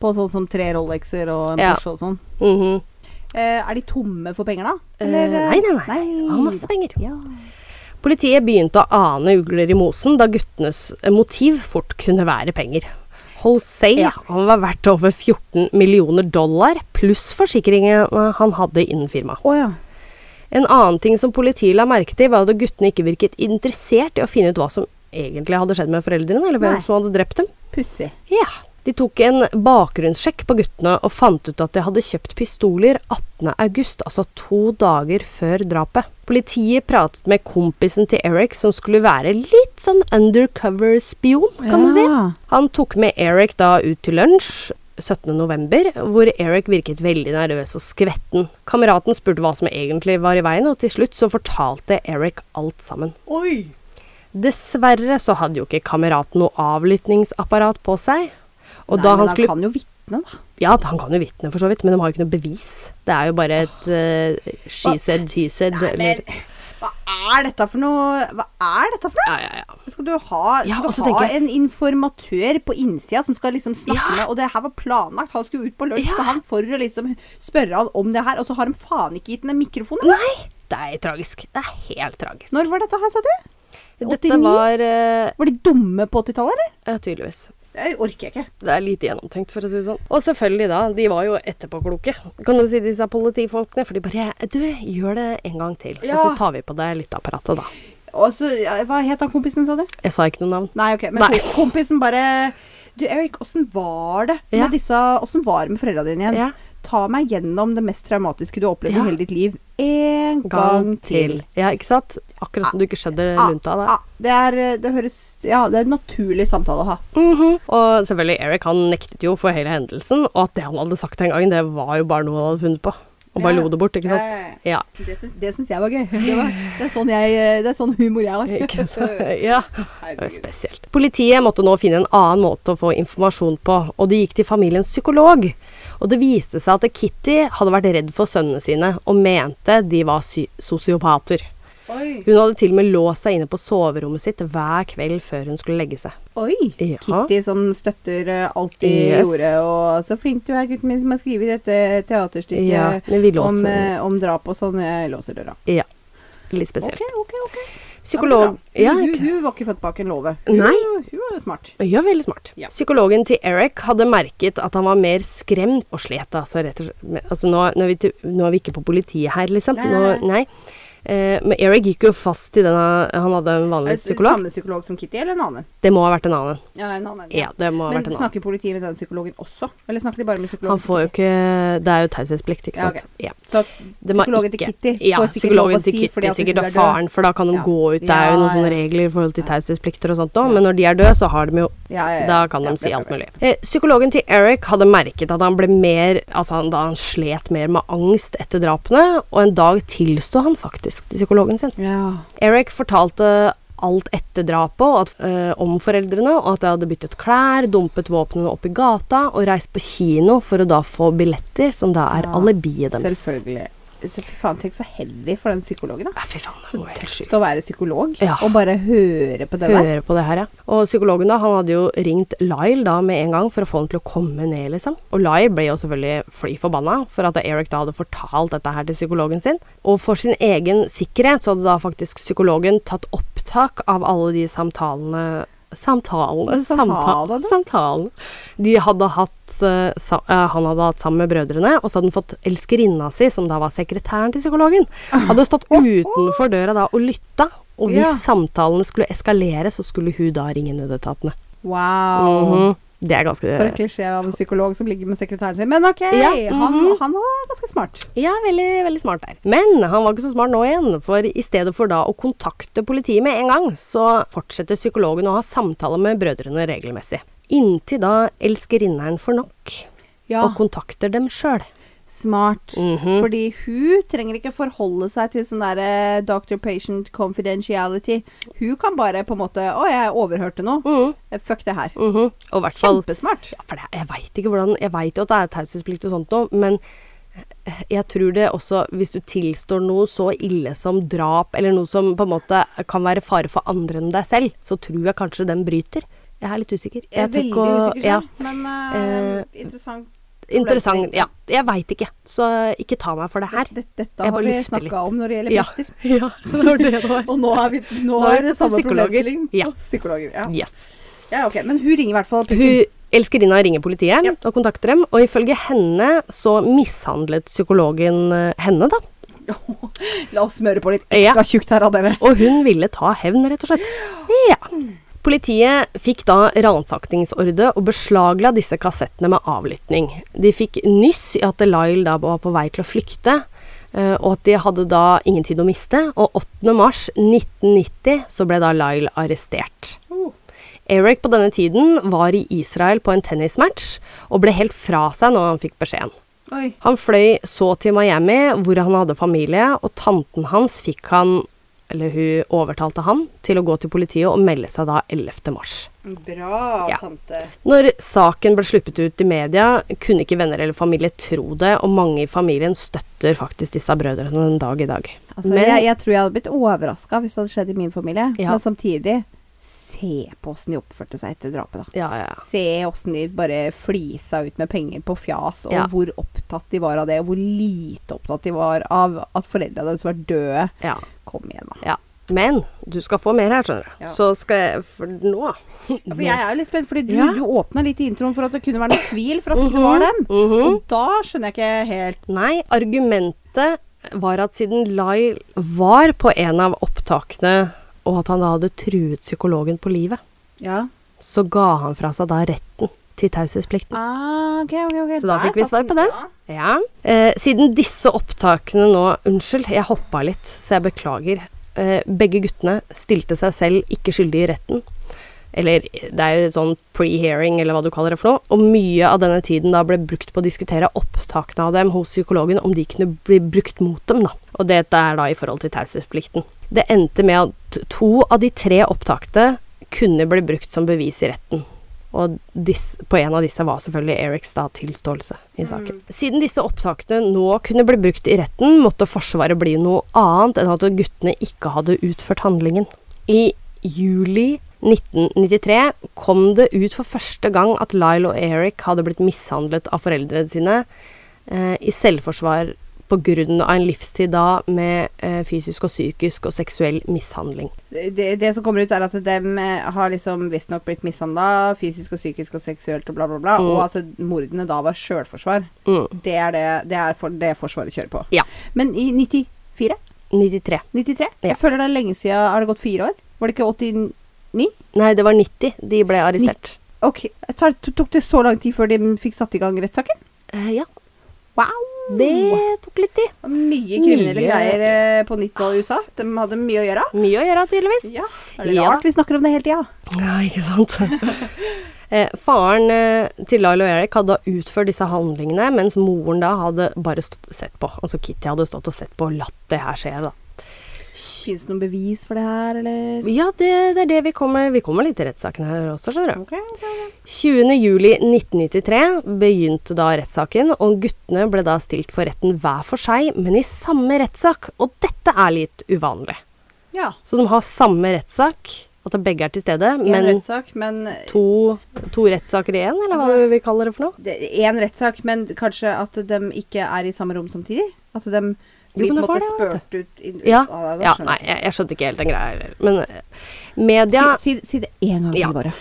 B: På sånn som tre Rolexer og en
A: Ja.
B: Porsche og sånn.
A: Mhm.
B: Eh, er de tomme for penger, da?
A: Eh, nei, nei, nei.
B: nei.
A: Han har masse penger.
B: Ja.
A: Politiet begynte å ane ugler i mosen, da guttenes eh, motiv fort kunne være penger. Jose
B: Ja.
A: han var verdt over 14 millioner dollar, pluss forsikringene han hadde innen firmaet.
B: Å ja.
A: En annen ting som politiet la merke til, var at guttene ikke virket interessert i å finne ut hva som egentlig hadde skjedd med foreldrene, eller hvem
B: Nei.
A: som hadde drept dem.
B: Pussig.
A: Ja. De tok en bakgrunnssjekk på guttene og fant ut at de hadde kjøpt pistoler 18. august, altså to dager før drapet. Politiet pratet med kompisen til Eric, som skulle være litt sånn undercover-spion, kan du si.
B: Ja.
A: Han tok med Eric da ut til lunsj 17. november, hvor Eric virket veldig nervøs og skvetten. Kameraten spurte hva som egentlig var i veien, og til slutt så fortalte Eric alt sammen.
B: Oi!
A: Dessverre så hadde jo ikke kameraten noe avlyttingsapparat på seg. Og
B: Nei,
A: da
B: men
A: han skulle
B: kan jo vitne, da.
A: Ja, han kan jo vitne for så vidt, men de har jo ikke noe bevis. Det er jo bare et eh, she
B: Hva-
A: said, he said,
B: Nei,
A: eller
B: men hva er dette for noe Hva er dette for noe?
A: Ja, ja, ja.
B: Skal du ha,
A: Ja, og så
B: skal du ha
A: tenker jeg-
B: en informatør på innsida som skal liksom snakke
A: Ja.
B: med Og det her var planlagt, han skulle ut på lunsj
A: Ja.
B: med han for å liksom spørre han om det her, og så har de faen ikke gitt ham en mikrofon, eller?
A: Nei! Det er tragisk. Det er helt tragisk.
B: Når var dette her, sa du?
A: Dette
B: 89?
A: var eh,
B: Var de dumme på 80-tallet, eller?
A: ja, Tydeligvis.
B: Det orker jeg ikke.
A: Det er lite gjennomtenkt, for å si det sånn. Og selvfølgelig, da. De var jo etterpåkloke, kan du si, disse politifolkene. For de bare Du, gjør det en gang til. Og
B: Ja.
A: så tar vi på deg lytteapparatet, da.
B: Og så, ja, Hva het han kompisen, sa du?
A: Jeg sa ikke noe navn.
B: Nei, ok. Men
A: Nei.
B: kom- kompisen bare Du, Erik, åssen var det
A: Ja.
B: med disse Åssen var det med foreldra dine igjen?
A: Ja.
B: Ta meg gjennom det mest traumatiske du har opplevd
A: Ja.
B: i hele ditt liv. En gang, til.
A: Ja, ikke sant? Akkurat som du ikke skjønner
B: Ah,
A: lunta der.
B: ah, det er Det høres Ja, det er en naturlig samtale å ha.
A: Mhm. Og selvfølgelig, Eric han nektet jo for hele hendelsen, og at det han hadde sagt den gangen, det var jo bare noe han hadde funnet på. Og bare
B: Ja.
A: lo det bort, ikke
B: Ja, ja,
A: sant? Ja.
B: Det syns, det syns jeg var gøy. Det, var, det, er sånn jeg, det er sånn humor jeg har.
A: Ikke sant? ja. Det var jo
B: Herregud.
A: spesielt. Politiet måtte nå finne en annen måte å få informasjon på, og de gikk til familiens psykolog. Og det viste seg at Kitty hadde vært redd for sønnene sine, og mente de var sy sosiopater.
B: Oi.
A: Hun hadde til og med låst seg inne på soverommet sitt hver kveld før hun skulle legge seg.
B: Oi.
A: Ja.
B: Kitty som støtter eh, alt de
A: Yes.
B: gjorde, og så flink du er, gutten min, som har skrevet dette teaterstykket
A: Ja, men vi låser
B: om,
A: den.
B: eh, om drap og sånn. Jeg låser døra.
A: Ja. Litt spesielt.
B: Ok, ok, ok.
A: Psykolog
B: Ja,
A: ja,
B: men bra.
A: ikke-
B: hun, hun var ikke født bak en låve. Hun,
A: Nei.
B: hun var jo smart.
A: Ja, veldig smart.
B: Ja.
A: Psykologen til Eric hadde merket at han var mer skremt og slet, altså rett og slett. med- Altså, nå, nå, er vi til, nå er vi ikke på politiet her, liksom.
B: Nei,
A: Nå, nei. Eh, men Eric gikk jo fast i denne Han hadde en
B: Er
A: vanlig
B: det
A: psykolog.
B: Samme psykolog som Kitty, eller en annen?
A: Det må ha vært en annen.
B: Ja, en annen.
A: Ja, det må ha
B: Men
A: vært en annen.
B: snakker politiet med den psykologen også? Eller snakker de bare med psykologen?
A: Han får jo
B: til Kitty?
A: ikke Det er jo taushetsplikt, ikke
B: Ja,
A: sant. Ja,
B: Så
A: Det må
B: psykologen til
A: ikke-
B: Kitty
A: ja,
B: får sikkert lov å
A: psykologen til
B: si
A: Kitty
B: fordi at hun
A: sikkert
B: er
A: og
B: død.
A: faren, for da kan de
B: Ja.
A: gå ut. Det er jo noen
B: Ja,
A: sånne
B: ja.
A: regler i forhold til
B: Ja.
A: taushetsplikter og sånt òg, men når de er døde, så har de jo
B: Ja, ja, ja.
A: Da kan de
B: Ja, det
A: si
B: er
A: alt
B: bra.
A: mulig. Eh, psykologen til Eric hadde merket at han ble mer Altså han, da han slet mer med angst etter drapene, og en dag tilsto han faktisk til psykologen sin.
B: Ja.
A: Eric fortalte alt etter drapet og at, eh, om foreldrene, og at jeg hadde byttet klær, dumpet våpnene opp i gata og reist på kino for å da få billetter, som da er
B: Ja,
A: alibiet deres.
B: Selvfølgelig. så Fy faen, tenk så heavy for den psykologen, da.
A: Ja, fy faen, det
B: Så
A: går helt sjukt.
B: tøft å være psykolog
A: Ja.
B: og bare høre på det der.
A: Høre på det her, ja. Og psykologen da, han hadde jo ringt Lyle da med en gang for å få han til å komme ned, liksom. Og Lyle ble jo selvfølgelig fly forbanna for at Eric da hadde fortalt dette her til psykologen sin. Og for sin egen sikkerhet så hadde da faktisk psykologen tatt opptak av alle de samtalene Samtalene samta-
B: Samtalene?
A: Samtalene. De hadde hatt, eh, sa, eh, han hadde hatt sammen med brødrene, og så hadde han fått elskerinna si, som da var sekretæren til psykologen, hadde stått utenfor døra da og lytta. Og hvis
B: Ja.
A: samtalene skulle eskalere, så skulle hun da ringe nødetatene.
B: Wow.
A: Mhm. Det er ganske
B: For en klisjé av en psykolog som ligger med sekretæren sin. Men OK,
A: Ja,
B: han,
A: mhm.
B: han var ganske smart.
A: Ja, veldig, veldig smart der. Men han var ikke så smart nå igjen, for i stedet for da å kontakte politiet med en gang, så fortsetter psykologen å ha samtaler med brødrene regelmessig. Inntil da elskerinneren får nok,
B: Ja,
A: og kontakter dem sjøl.
B: smart.
A: Mhm.
B: Fordi hun trenger ikke forholde seg til sånn derre doctor-patient confidentiality. Hun kan bare på en måte Å, jeg overhørte noe. Eh,
A: Mhm,
B: Fuck det her.
A: mhm. Og i hvert
B: Sånn.
A: fall
B: Kjempesmart.
A: Ja, for det, jeg veit ikke hvordan Jeg veit jo at det er taushetsplikt og sånt noe, men eh, jeg tror det også Hvis du tilstår noe så ille som drap, eller noe som på en måte kan være fare for andre enn deg selv, så tror jeg kanskje den bryter. Jeg er litt usikker.
B: Jeg
A: Jeg
B: er
A: tør
B: veldig
A: ikke å-
B: usikker,
A: ja,
B: selv, men eh, interessant.
A: interessant. Ja, jeg veit ikke. Så ikke ta meg for det her.
B: Det, dette
A: Jeg
B: har
A: bare
B: vi
A: lufter litt.
B: snakka om når det gjelder
A: Ja.
B: prester.
A: Ja, det var det det var.
B: Og nå er, vi, nå
A: Nå er
B: er det
A: det
B: samme
A: psykologer.
B: problemstilling.
A: Ja.
B: Og Psykologer. Ja.
A: Yes.
B: ja, ok. Men hun ringer i hvert fall.
A: Hun elskerinna ringer politiet
B: Ja.
A: og kontakter dem, og ifølge henne så mishandlet psykologen eh, henne, da.
B: La oss smøre på litt
A: Ja.
B: ekstra tjukt her av dere.
A: Og hun ville ta hevn, rett og slett. Ja. Politiet fikk da ransakingsordre og beslagla disse kassettene med avlytting. De fikk nyss i at Lyle da var på vei til å flykte, eh, og at de hadde da ingen tid å miste. Og 8.3.1990 så ble da Lyle arrestert. Eric på denne tiden var i Israel på en tennismatch og ble helt fra seg når han fikk beskjeden.
B: Oi.
A: Han fløy så til Miami, hvor han hadde familie, og tanten hans fikk han, eller hun overtalte han, til å gå til politiet og melde seg da 11. mars.
B: Bra,
A: Ja.
B: tante.
A: Når saken ble sluppet ut i media, kunne ikke venner eller familie tro det, og mange i familien støtter faktisk disse brødrene den dag i dag.
B: Altså,
A: Men-
B: jeg, jeg tror jeg hadde blitt overraska hvis det hadde skjedd i min familie.
A: Ja.
B: Men samtidig Se på åssen de oppførte seg etter drapet, da.
A: Ja, ja, ja.
B: Se åssen de bare flisa ut med penger på fjas, og
A: Ja.
B: hvor opptatt de var av det, og hvor lite opptatt de var av at foreldra deres var døde.
A: ja.
B: Kom igjen, da.
A: ja. Men du skal få mer her, skjønner du.
B: Ja.
A: Så skal jeg For nå
B: Ja, for jeg er jo litt spent, fordi du,
A: Ja.
B: du åpna litt i introen for at det kunne være noe tvil for at det ikke var dem.
A: mhm.
B: Og da skjønner jeg ikke helt
A: Nei, argumentet var at siden Lyle var på en av opptakene, og at han da hadde truet psykologen på livet,
B: Ja.
A: så ga han fra seg da retten til taushetsplikten.
B: Ah, ok, ok, ok.
A: Så da
B: Der
A: fikk vi
B: satt
A: svar på den.
B: Ja.
A: Ja. Eh, siden disse opptakene nå Unnskyld, jeg hoppa litt, så jeg beklager. Eh, begge guttene stilte seg selv ikke skyldig i retten. Eller det er jo sånn pre-hearing, eller hva du kaller det for noe. Og mye av denne tiden da ble brukt på å diskutere opptakene av dem hos psykologen, om de kunne bli brukt mot dem, da. Og dette er da i forhold til taushetsplikten. Det endte med at to av de tre opptakene kunne bli brukt som bevis i retten. Og dis, på en av disse var selvfølgelig Erics da tilståelse i saken. Siden disse opptakene nå kunne bli brukt i retten, måtte Forsvaret bli noe annet enn at guttene ikke hadde utført handlingen. I juli 1993 kom det ut for første gang at Lyle og Eric hadde blitt mishandlet av foreldrene sine eh, i selvforsvar på grunn av en livstid da med eh, fysisk og psykisk og seksuell mishandling.
B: Det, det som kommer ut, er at dem eh, har liksom visstnok blitt mishandla fysisk og psykisk og seksuelt og bla, bla, bla.
A: Mm.
B: Og at mordene da var sjølforsvar.
A: Mm.
B: Det er det, det, er for, det Forsvaret kjører på.
A: Ja.
B: Men i 94?
A: 93.
B: 93?
A: Ja.
B: Jeg føler det er lenge siden. Har det gått fire år? Var det ikke 89?
A: Nei, det var 90 de ble arrestert.
B: Ok, tar, Tok det så lang tid før de fikk satt i gang rettssaken?
A: Eh, ja,
B: Wow!
A: det tok litt tid.
B: Mye kriminelle
A: Mye-
B: greier eh, på 90-tallet i USA. De hadde mye å gjøre.
A: Mye å gjøre, tydeligvis.
B: Ja, er det
A: Ja.
B: rart vi snakker om det hele tida?
A: Ja, ikke sant? eh, faren eh, til Lyle og Eric hadde da utført disse handlingene, mens moren da hadde bare stått, sett på. Altså Kitty hadde stått og sett på og latt det her skje, da.
B: Fins det noen bevis for det her, eller?
A: Ja, det, det er det vi kommer Vi kommer litt til rettssaken her også, skjønner du.
B: Ok, ok, ok.
A: 20.07.1993 begynte da rettssaken, og guttene ble da stilt for retten hver for seg, men i samme rettssak. Og dette er litt uvanlig.
B: Ja.
A: Så de har samme rettssak, at begge er til stede,
B: Én
A: men
B: rettssak, men
A: to, to rettssaker i én, eller hva vi kaller det for noe?
B: Én rettssak, men kanskje at de ikke er i samme rom samtidig? At de blir
A: men
B: på en
A: det var
B: måte
A: det, vet
B: spurt ut inn-
A: Ja.
B: Ah, da
A: ja
B: skjønner
A: nei,
B: jeg.
A: jeg, jeg skjønte ikke helt den greia heller. Men eh, media
B: Si, si, si det én gang til,
A: Ja.
B: bare.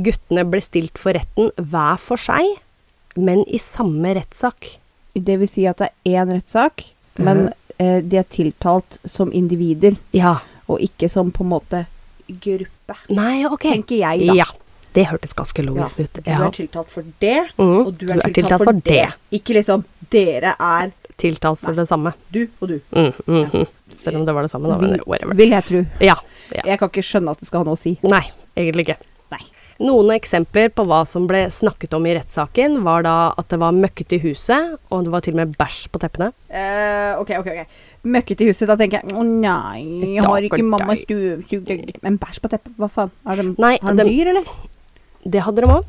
A: Guttene ble stilt for retten hver for seg, men i samme rettssak.
B: Det vil si at det er én rettssak,
A: Mhm.
B: men eh, de er tiltalt som individer,
A: Ja.
B: og ikke som på en måte gruppe.
A: Nei, ok.
B: Tenker jeg, da.
A: Ja. Det hørtes ganske logisk ut.
B: Du
A: Ja.
B: er tiltalt for det,
A: Mhm,
B: og du er, tiltalt, for det. Ikke liksom 'dere er
A: Tiltalt for det samme.
B: du og du'.
A: Mm, mm, mm. Selv om det var det samme, da. Men
B: Vil-
A: whatever.
B: Vil jeg tro.
A: Ja. ja.
B: Jeg kan ikke skjønne at det skal ha noe å si.
A: Nei, egentlig ikke.
B: Nei.
A: Noen eksempler på hva som ble snakket om i rettssaken, var da at det var møkkete i huset, og det var til og med bæsj på teppene.
B: Eh, ok, ok, ok. Møkkete i huset, da tenker jeg Å nei, jeg har ikke
A: Stakkars
B: mamma
A: deg.
B: stuesugd Men bæsj på teppet, hva faen? Er de,
A: Nei,
B: har de
A: dem-
B: dyr, eller?
A: Det hadde de òg.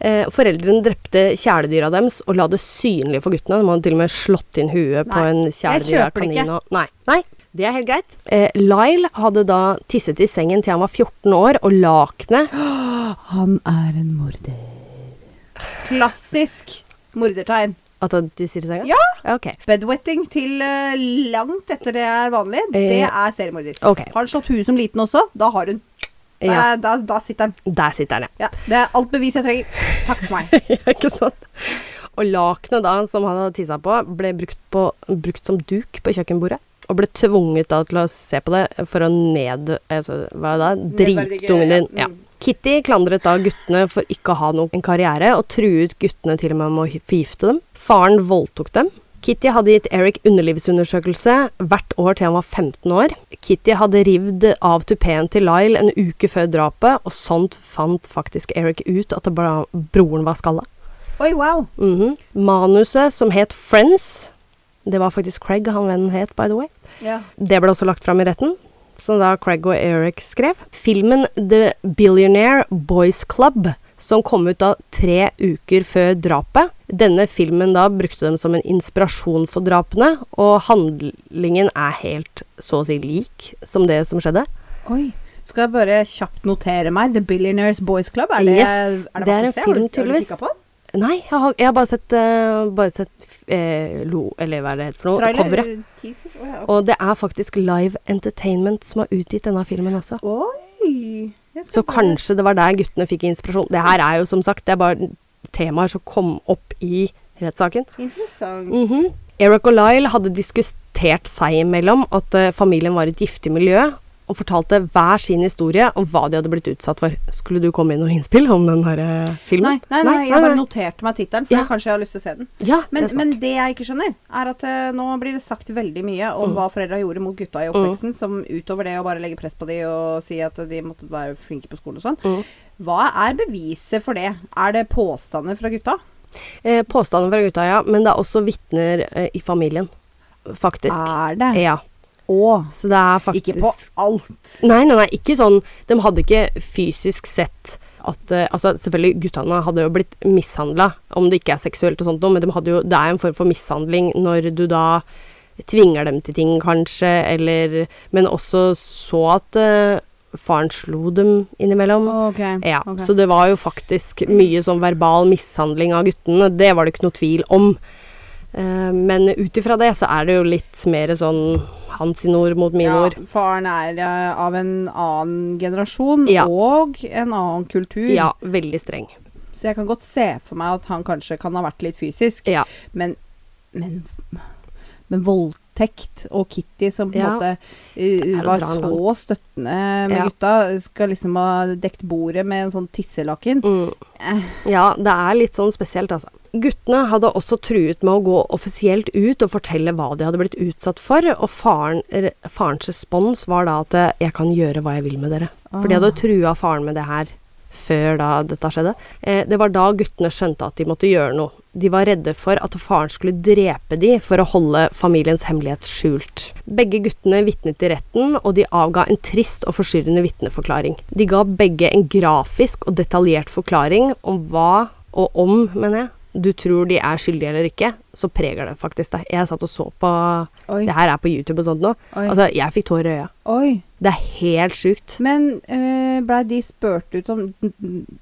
A: Eh, foreldrene drepte kjæledyra deres og la det synlig for guttene. De hadde til og med slått inn huet på
B: Nei,
A: en kjæledyr
B: jeg kjøper det
A: kanin.
B: ikke.
A: Og, nei, nei, det er helt greit. Eh, Lyle hadde da tisset i sengen til han var 14 år, og lakenet
B: Han er en morder. Klassisk mordertegn.
A: At han tisser i senga?
B: Ja!
A: Ok.
B: Bedwetting til eh, langt etter det er vanlig, det
A: Eh,
B: er seriemorder.
A: ok.
B: Har han slått huet som liten også, da har hun. Der,
A: Ja.
B: er- da, da sitter han.
A: Der sitter han, ja.
B: Ja, det er alt bevis jeg trenger. Takk for meg.
A: ja. Ikke sant? Og lakenet da som han hadde tissa på, ble brukt, på, brukt som duk på kjøkkenbordet. Og ble tvunget da til å se på det for å ned... Altså, hva da?
B: Nedverdige,
A: Drite ungen din.
B: ja.
A: Ja.
B: Mm.
A: Kitty klandret da guttene for ikke å ha noen karriere, og truet guttene til og med med å hy- forgifte dem. Faren voldtok dem. Kitty hadde gitt Eric underlivsundersøkelse hvert år til han var 15 år. Kitty hadde rivd av tupeen til Lyle en uke før drapet, og sånt fant faktisk Eric ut at det bra- broren var skalla.
B: Oi, wow.
A: Mhm. Manuset som het Friends, det var faktisk Craig han vennen het, by the way.
B: Ja.
A: Det ble også lagt fram i retten, som da Craig og Eric skrev. Filmen The Billionaire Boys Club, som kom ut da tre uker før drapet. Denne filmen da brukte dem som en inspirasjon for drapene, og handlingen er helt så å si lik som det som skjedde.
B: Oi. Skal jeg bare kjapt notere meg. The Billionaires Boys Club. Er det,
A: Yes, det er en
B: masse? Har du-
A: film,
B: har du
A: tydeligvis.
B: kikket på den?
A: Nei, jeg har, jeg har bare sett, eh, bare sett eh, lo, Eller hva er det heter for noe?
B: Trailer?
A: Coveret.
B: Teaser? Å, ja, ok.
A: Og det er faktisk Live Entertainment som har utgitt denne filmen også.
B: Oi! jeg skal
A: Så
B: bare-
A: kanskje det var der guttene fikk inspirasjon. Det her er jo som sagt, det er bare temaer som kom opp i rettssaken.
B: Interessant.
A: Mhm. Eric og Lyle hadde diskutert seg imellom at eh, familien var et giftig miljø, og fortalte hver sin historie om hva de hadde blitt utsatt for. Skulle du komme med noe innspill om den her eh,
B: Nei,
A: filmen?
B: nei, nei, jeg
A: nei.
B: bare noterte meg tittelen, for
A: Ja.
B: kanskje jeg har lyst til å se den.
A: Ja,
B: Men
A: det
B: det,
A: er
B: men
A: men,
B: det jeg ikke skjønner, er at eh, nå blir det sagt veldig mye
A: Mm.
B: om hva foreldra gjorde mot gutta i oppveksten, som utover det å bare legge press på de og si at de måtte være flinke på skolen og sånn.
A: Mm.
B: Hva er beviset for det? Er det påstander fra gutta?
A: eh, Påstanden fra gutta, ja. Men det er også vitner eh, i familien, faktisk.
B: Er det?
A: Ja.
B: Å,
A: Så det er faktisk
B: Ah. ikke på alt.
A: Nei, nei, nei, ikke sånn. De hadde ikke fysisk sett at eh, Altså, selvfølgelig, guttene hadde jo blitt mishandla, om det ikke er seksuelt og sånt noe, men de hadde jo Det er en form for mishandling når du da tvinger dem til ting, kanskje, eller Men også så at eh, faren slo dem innimellom.
B: Ok.
A: Ja,
B: ok.
A: så det var jo faktisk mye sånn verbal mishandling av guttene. Det var det ikke noe tvil om. Eh, men ut ifra det så er det jo litt mer sånn hans sine ord mot mine ord.
B: Ja, faren er eh, av en annen generasjon
A: Ja.
B: og en annen kultur.
A: Ja, veldig streng.
B: Så jeg kan godt se for meg at han kanskje kan ha vært litt fysisk,
A: Ja.
B: men, men, men voldtekt og Kitty som på en
A: Ja.
B: måte
A: er
B: eh,
A: å
B: var
A: dra
B: så
A: langt.
B: støttende med
A: Ja.
B: gutta, skal liksom ha dekt bordet med en sånn tisselaken.
A: Mm.
B: Eh,
A: Ja, det er litt sånn spesielt, altså. Guttene hadde også truet med å gå offisielt ut og fortelle hva de hadde blitt utsatt for, og faren, re-
B: Ah,
A: farens respons var da at eh, 'jeg kan gjøre hva jeg vil med dere'. For de hadde trua faren med det her før da dette skjedde. Eh, det var da guttene skjønte at de måtte gjøre noe. De var redde for at faren skulle drepe de for å holde familiens hemmelighet skjult. Begge guttene vitnet i retten, og de avga en trist og forstyrrende vitneforklaring. De ga begge en grafisk og detaljert forklaring om hva, og om, mener jeg, du tror de er skyldige eller ikke, så preger det faktisk deg. Jeg satt og så på
B: Oi.
A: Det her er på YouTube og sånt nå.
B: Oi.
A: Altså, jeg fikk tårer i øya.
B: Oi.
A: Det er helt sjukt.
B: Men øh, blei de spurt ut om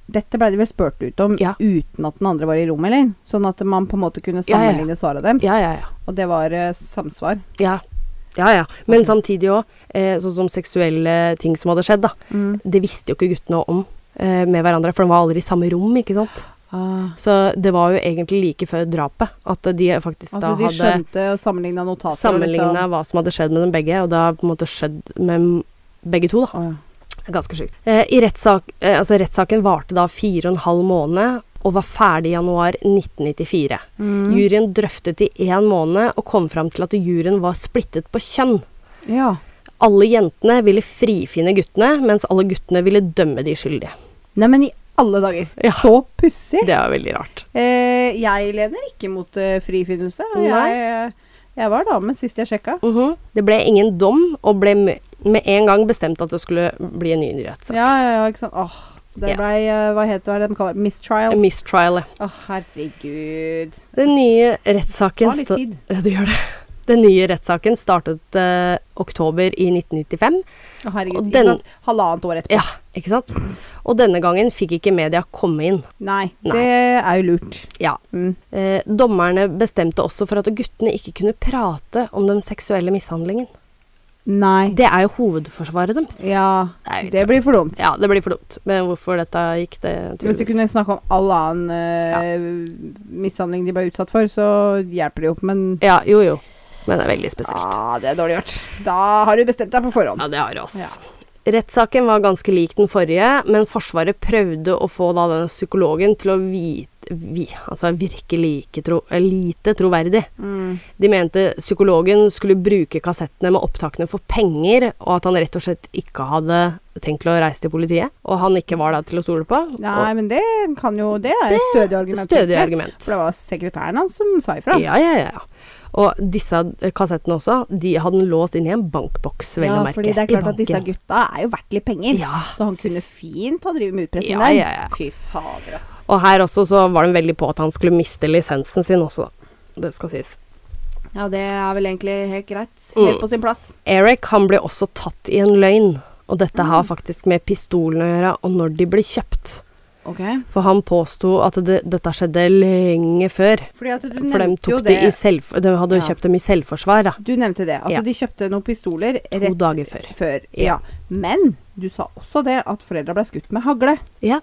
B: Dette blei de vel spurt ut om
A: Ja.
B: uten at den andre var i rommet, eller? Sånn at man på en måte kunne
A: Ja, ja, ja.
B: sammenligne svaret deres.
A: Ja, ja, ja.
B: Og det var øh, samsvar.
A: Ja, ja. ja. Men
B: Ok.
A: samtidig òg, eh, sånn som seksuelle ting som hadde skjedd, da.
B: Mm.
A: Det visste jo ikke guttene om eh, med hverandre, for de var aldri i samme rom, ikke sant.
B: Ah.
A: Så det var jo egentlig like før drapet at de faktisk
B: Altså,
A: da
B: de
A: hadde
B: skjønte liksom- og sammenligna notater.
A: sammenligna hva som hadde skjedd med dem begge, og det har på en måte skjedd med begge to, da.
B: Liksom. Å, ja.
A: Det er Ganske sjukt. Eh, i rettssak, eh, altså rettssaken varte da fire og en halv måned, og var ferdig i januar 1994.
B: Mm.
A: Juryen drøftet i én måned, og kom fram til at juryen var splittet på kjønn.
B: ja.
A: Alle jentene ville frifinne guttene, mens alle guttene ville dømme de skyldige.
B: Neimen, i alle dager!
A: Ja.
B: Så pussig!
A: Det er veldig rart.
B: Eh, jeg lener ikke mot eh, frifinnelse. og
A: Nei.
B: Jeg, eh, jeg var dame sist jeg sjekka.
A: Mhm. Det ble ingen dom, og ble med med en gang bestemt at det skulle bli en ny rettssak.
B: Ja, ja, ja, ikke sant. Åh, det
A: Ja.
B: blei eh, Hva heter hva er det de kaller det?
A: En
B: Mistrial?
A: Mistrial. ja.
B: Åh, herregud.
A: Den nye rettssaken
B: Ta litt
A: sta-
B: tid.
A: Ja, det gjør det. Den nye rettssaken startet eh, oktober i 1995.
B: Å, herregud.
A: Og
B: ikke
A: den-
B: sant? Halvannet år etterpå.
A: Ja, ikke sant? Og denne gangen fikk ikke media komme inn.
B: Nei,
A: Nei.
B: det er jo lurt.
A: Ja.
B: Mm.
A: Eh, dommerne bestemte også for at guttene ikke kunne prate om den seksuelle mishandlingen.
B: Nei.
A: Det er jo hovedforsvaret deres.
B: Ja,
A: Det er jo
B: det blir for dumt.
A: Ja, det blir for dumt. Men hvorfor dette gikk, det tror
B: Hvis du
A: jeg
B: kunne snakke om all annen eh, mishandling de ble utsatt for, så hjelper det jo, men
A: Ja, jo jo. Men det er veldig spesielt.
B: ah, det er dårlig gjort. Da har du bestemt deg på forhånd.
A: Ja, det har det også.
B: Ja.
A: Rettssaken var ganske lik den forrige, men Forsvaret prøvde å få da denne psykologen til å vite, vi, altså virke like tro, eh, lite troverdig.
B: Mm.
A: De mente psykologen skulle bruke kassettene med opptakene for penger, og at han rett og slett ikke hadde tenkt til å reise til politiet. Og han ikke var da til å stole på.
B: Nei, men det kan jo Det er et stødig
A: og
B: argument.
A: stødig
B: egentlig.
A: argument.
B: For det var sekretæren hans som sa ifra.
A: Ja, ja, ja. ja. Og disse eh, kassettene også, de hadde han låst inn i en bankboks, vel å merke.
B: fordi det er
A: i
B: klart at disse
A: banken.
B: gutta er jo verdt litt penger.
A: Ja.
B: Så han kunne fint ha drevet med utpressing
A: Ja,
B: der.
A: ja, ja.
B: Fy fader, ass.
A: Og her også så var de veldig på at han skulle miste lisensen sin også, det skal sies.
B: Ja, det er vel egentlig helt greit.
A: Helt Mm.
B: på sin plass.
A: Eric, han ble også tatt i en løgn, og dette
B: Mm.
A: har faktisk med pistolene å gjøre, og når de ble kjøpt.
B: Ok.
A: For han påsto at det, dette skjedde lenge før.
B: Fordi at du
A: For de,
B: nevnte jo
A: tok
B: det.
A: de, i selv, de hadde jo
B: Ja.
A: kjøpt dem i selvforsvar da,
B: Du nevnte det. Altså,
A: Ja.
B: de kjøpte noen pistoler
A: to
B: rett
A: dager før.
B: før.
A: Ja.
B: Ja. Men du sa også det at foreldra ble skutt med hagle.
A: Ja.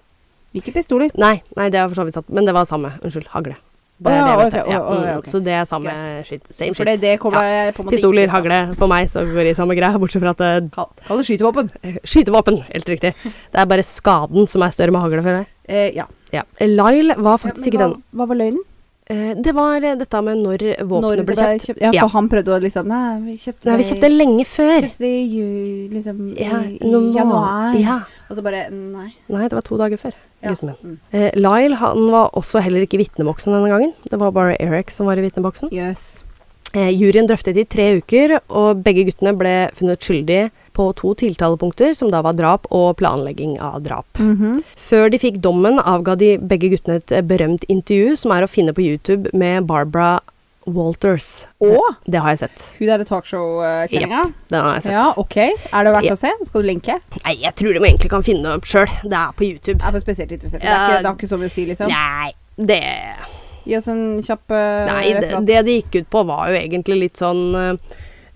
B: Ikke pistoler.
A: Nei, nei, det har for så vidt satt, men det var samme. Unnskyld, hagle. Det
B: Å
A: er
B: ja,
A: det jeg vet,
B: ok,
A: ja.
B: å, å, ja,
A: mm,
B: ok.
A: Så det er samme
B: Greit.
A: shit. Same
B: For det,
A: shit.
B: det kommer jeg på en måte
A: Pistoler,
B: ikke
A: hagle, for meg så går det i samme greia, bortsett fra at det
B: Kall kall det skytevåpen.
A: er skytevåpen, helt riktig. Det er bare skaden som er større med hagle, føler jeg.
B: Eh, ja.
A: Ja. Lyle var
B: Ja,
A: faktisk
B: men
A: ikke
B: hva,
A: den.
B: hva var løgnen?
A: Eh, Det var eh, dette med når våpenet
B: det
A: ble kjøpt.
B: Ja, for
A: Ja.
B: han prøvde å liksom Nei, vi kjøpte
A: Nei, vi kjøpte det lenge før.
B: kjøpte det i ju- liksom, i-
A: Ja,
B: i
A: noen må-
B: januar.
A: Ja.
B: Og så bare Nei.
A: Nei, det var to dager før.
B: Ja.
A: Gutten min.
B: Mm.
A: Eh, Lyle han var også heller ikke i vitneboksen denne gangen. Det var bare Eric som var i vitneboksen.
B: Jøss.
A: Eh, juryen drøftet i tre uker, og begge guttene ble funnet skyldige på to tiltalepunkter, som da var drap og planlegging av drap.
B: Mhm.
A: Før de fikk dommen, avga de begge guttene et eh, berømt intervju som er å finne på YouTube med Barbara Walters.
B: Og
A: Det, det har jeg sett.
B: hun derre talkshow-kjenninga.
A: Den har jeg sett.
B: Ja, OK. Er det verdt
A: Ja.
B: å se? Skal du lenke?
A: Nei, jeg tror de egentlig kan finne det opp sjøl. Det er på YouTube.
B: Jeg er for spesielt interessert. Det,
A: Ja.
B: er ikke, det har ikke så mye å si, liksom.
A: Nei, det
B: Gi oss en kjapp uh,
A: Nei, det, det de gikk ut på var jo egentlig litt sånn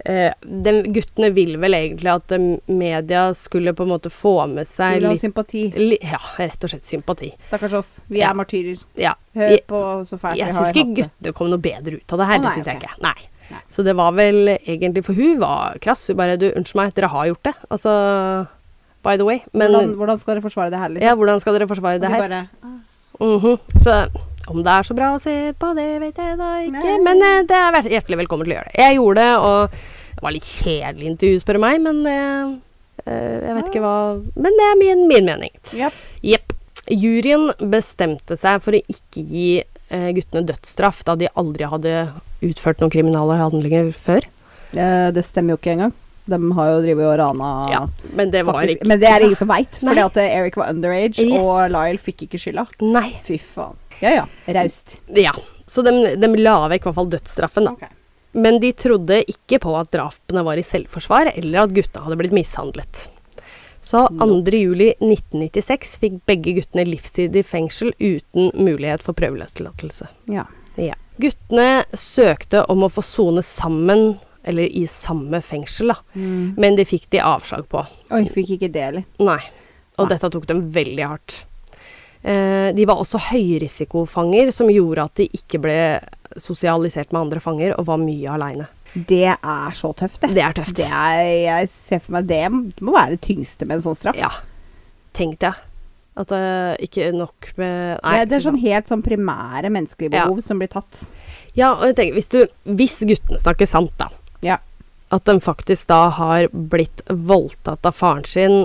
A: eh, eh, de guttene ville vel egentlig at eh, media skulle på en måte få med seg
B: Vil ha
A: litt
B: sympati.
A: li, Ja, rett og slett sympati.
B: Stakkars oss. Vi
A: Ja.
B: er martyrer.
A: Ja.
B: Hør
A: Jeg,
B: på så fælt
A: jeg
B: vi
A: syns
B: har
A: ikke
B: hatt
A: guttene
B: det.
A: kom noe bedre ut av det her, det
B: Å, nei,
A: syns jeg
B: ok.
A: ikke. Nei.
B: Nei.
A: Så det var vel egentlig For hun var krass. Hun bare Du, unnskyld meg, dere har gjort det. Altså By the way. Men
B: hvordan, hvordan skal dere forsvare det her, liksom?
A: ja, hvordan skal dere forsvare det
B: De
A: her?
B: bare, ah,
A: Mhm. Så om det er så bra å se på, det vet jeg da ikke.
B: Nei.
A: Men eh, det er vært hjertelig velkommen til å gjøre det. Jeg gjorde det, og det var litt kjedelig intervju, spør du meg, men eh, eh, jeg vet ikke hva Men det er min, min mening.
B: japp.
A: Jepp. Juryen bestemte seg for å ikke gi eh, guttene dødsstraff, da de aldri hadde utført noen kriminale handlinger før.
B: Eh, det stemmer jo ikke engang. De har jo drevet og rana
A: Ja, Men det var
B: faktisk.
A: ikke
B: Men det er det ingen som veit,
A: Nei.
B: fordi at eh, Eric var underage,
A: Yes.
B: og Lyle fikk ikke skylda.
A: Nei.
B: Fy faen. Ja ja, raust.
A: Ja. Så de, de la vekk i hvert fall dødsstraffen, da.
B: Ok.
A: Men de trodde ikke på at drapene var i selvforsvar, eller at gutta hadde blitt mishandlet. Så 2. juli 1996 fikk begge guttene livstid i fengsel uten mulighet for prøveløslatelse.
B: Ja.
A: Ja. Guttene søkte om å få sone sammen, eller i samme fengsel, da. Men det fikk de avslag på.
B: Oi, fikk ikke det heller.
A: Nei. Og
B: Nei.
A: dette tok dem veldig hardt. Eh, de var også høyrisikofanger, som gjorde at de ikke ble sosialisert med andre fanger, og var mye aleine.
B: Det er så tøft, det.
A: Det er tøft.
B: Det er, jeg ser for meg det må være det tyngste med en sånn straff.
A: Ja. Tenkte jeg. At eh, ikke nok med
B: det, det
A: fy
B: er sånn helt sånn primære menneskelige
A: Ja.
B: behov som blir tatt.
A: faen. Ja, og jeg tenker, hvis, du, hvis guttene snakker sant, da.
B: Ja.
A: At de faktisk da har blitt voldtatt av faren sin.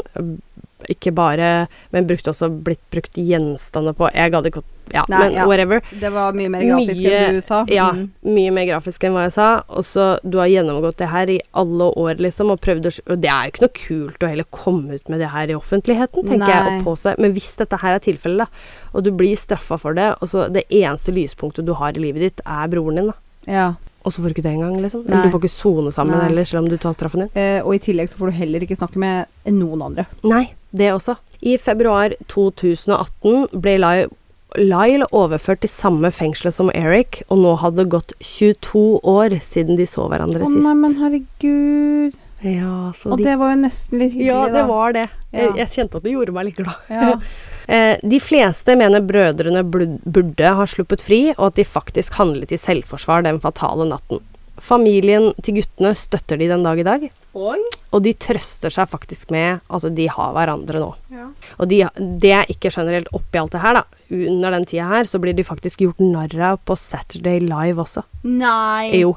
A: Ikke bare, men brukt også blitt brukt gjenstander på. Jeg gadd ikke å Ja,
B: Nei,
A: men
B: ja.
A: whatever.
B: Det var mye mer grafisk
A: Mye-
B: enn du sa.
A: Ja,
B: Mm.
A: mye mer grafisk enn hva jeg sa. Og så du har gjennomgått det her i alle år, liksom, og prøvd å sk- Og det er jo ikke noe kult å heller komme ut med det her i offentligheten, tenker jeg,
B: Nei.
A: og på seg. Men hvis dette her er tilfellet, da, og du blir straffa for det, og så det eneste lyspunktet du har i livet ditt, er broren din, da.
B: ja.
A: Og så får du ikke det engang, liksom.
B: Nei.
A: Eller du får ikke sone sammen
B: Nei.
A: heller, selv om du tar straffen din.
B: Eh, og i tillegg så får du heller ikke snakke med noen andre.
A: Nei, det også. I februar 2018 ble Lyle, Lyle overført til samme fengselet som Eric, og nå hadde det gått 22 år siden de så hverandre
B: Å
A: sist.
B: nei, men herregud.
A: Ja, så
B: Og
A: de,
B: det var jo nesten litt hyggelig,
A: ja, det var det. Jeg,
B: Ja.
A: jeg kjente at det gjorde meg litt glad.
B: da. Ja.
A: Eh, de fleste mener brødrene blu- burde ha sluppet fri, og at de faktisk handlet i selvforsvar den fatale natten. Familien til guttene støtter de den dag i dag,
B: Oi.
A: og de trøster seg faktisk med at de har hverandre nå.
B: Ja.
A: Og de, det jeg ikke skjønner helt oppi alt det her, da, under den tida her, så blir de faktisk gjort narr av på Saturday Live også.
B: Nei.
A: Jo.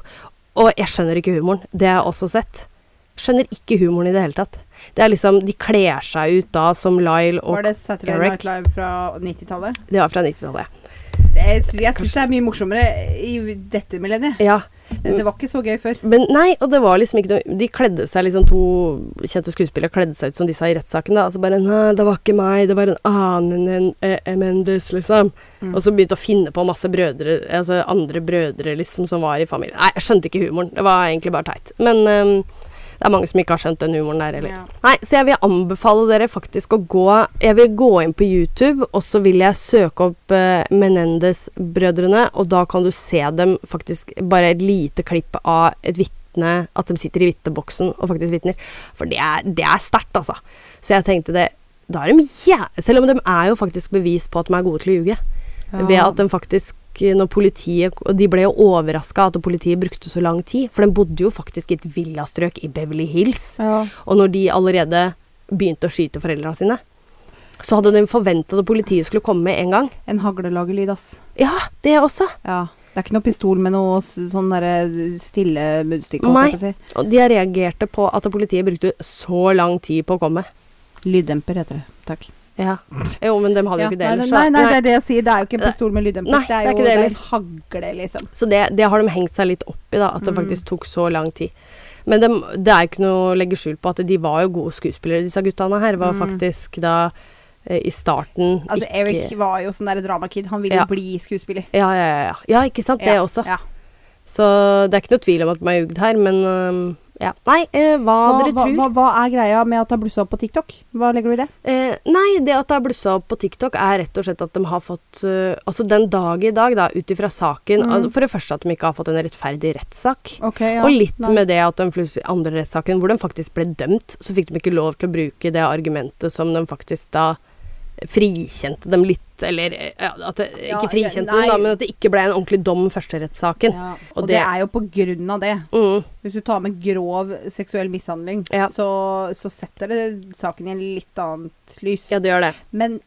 A: Og jeg skjønner ikke humoren. Det har jeg også sett. Skjønner ikke humoren i det hele tatt. Det er liksom, De kler seg ut da som Lyle og
B: Var det Saturday
A: Eric.
B: Night Live fra 90-tallet?
A: Det var fra 90-tallet.
B: Det- Jeg sy- jeg syns det er mye morsommere i dette millenniet.
A: Ja. Mm.
B: Det var ikke så gøy før.
A: Men nei, og det var liksom ikke noe De kledde seg liksom To kjente skuespillere kledde seg ut som de sa i rettssaken, da. Altså bare Nei, det var ikke meg, det var en annen enn eh, Mendes, liksom.
B: Mm.
A: Og så begynte å finne på masse brødre, altså andre brødre, liksom, som var i familien. Nei, jeg skjønte ikke humoren. Det var egentlig bare teit. Men ehm, det er mange som ikke har skjønt den humoren der heller.
B: Ja.
A: Nei, så jeg vil anbefale dere faktisk å gå Jeg vil gå inn på YouTube, og så vil jeg søke opp eh, Menendez-brødrene, og da kan du se dem faktisk Bare et lite klipp av et vitne At de sitter i vitneboksen og faktisk vitner. For det er, det er sterkt, altså. Så jeg tenkte det Da er de jæ... Selv om de er jo faktisk bevis på at de er gode til å ljuge. Ved at de faktisk når politiet, og De ble jo overraska at politiet brukte så lang tid, for de bodde jo faktisk i et villastrøk i Beverly Hills.
B: ja.
A: Og når de allerede begynte å skyte foreldra sine, så hadde de forventa at politiet skulle komme med en gang.
B: En hagle lager lyd, ass.
A: Ja, det også.
B: Ja. Det er ikke noe pistol med noe s- sånn derre stille muddstykke,
A: Nei.
B: holdt jeg på å
A: Og de reagerte på at politiet brukte så lang tid på å komme.
B: si. Lyddemper heter det. Takk.
A: Ja. Jo, men de hadde jo
B: Ja.
A: ikke det
B: nei,
A: ellers. da.
B: nei, nei, det er det jeg sier. Det er jo ikke en pistol med lyddemper.
A: Nei,
B: det er jo
A: det er ikke det
B: en hagle, liksom.
A: Så det, det har de hengt seg litt opp i, da, at det
B: Mm.
A: faktisk tok så lang tid. Men dem- det er ikke noe å legge skjul på at de var jo gode skuespillere, disse guttene her. Var faktisk da eh, i starten
B: Mm. Altså,
A: ikke
B: Eric var jo sånn der dramakid. Han ville
A: Ja.
B: jo bli skuespiller.
A: ja, ja, ja, ja. ja, ikke sant. Det
B: Ja,
A: også.
B: Ja.
A: Så det er ikke noe tvil om at de har jugd her, men øhm, ja. Nei, eh, hva,
B: Hva,
A: dere
B: hva,
A: tror
B: hva, hva er greia med at det har blussa opp på TikTok? Hva legger du i det?
A: Eh, Nei, det at det har blussa opp på TikTok, er rett og slett at de har fått øh, Altså den dag i dag, da, ut ifra saken
B: Mm.
A: at- For det første at de ikke har fått en rettferdig rettssak.
B: Ok, ja.
A: og litt
B: Nei.
A: med det at den andre rettssaken, hvor de faktisk ble dømt, så fikk de ikke lov til å bruke det argumentet som de faktisk da frikjente dem litt, eller eh, ja, at det,
B: Ja,
A: Ikke frikjente
B: nei.
A: dem, da, men at det ikke ble en ordentlig dom første rettssaken.
B: ja.
A: og
B: Og,
A: det-
B: det er jo på grunn av det.
A: Mm.
B: Hvis du tar med grov seksuell mishandling,
A: Ja.
B: så, så setter det saken i en litt annet lys.
A: Ja, det gjør det.
B: Men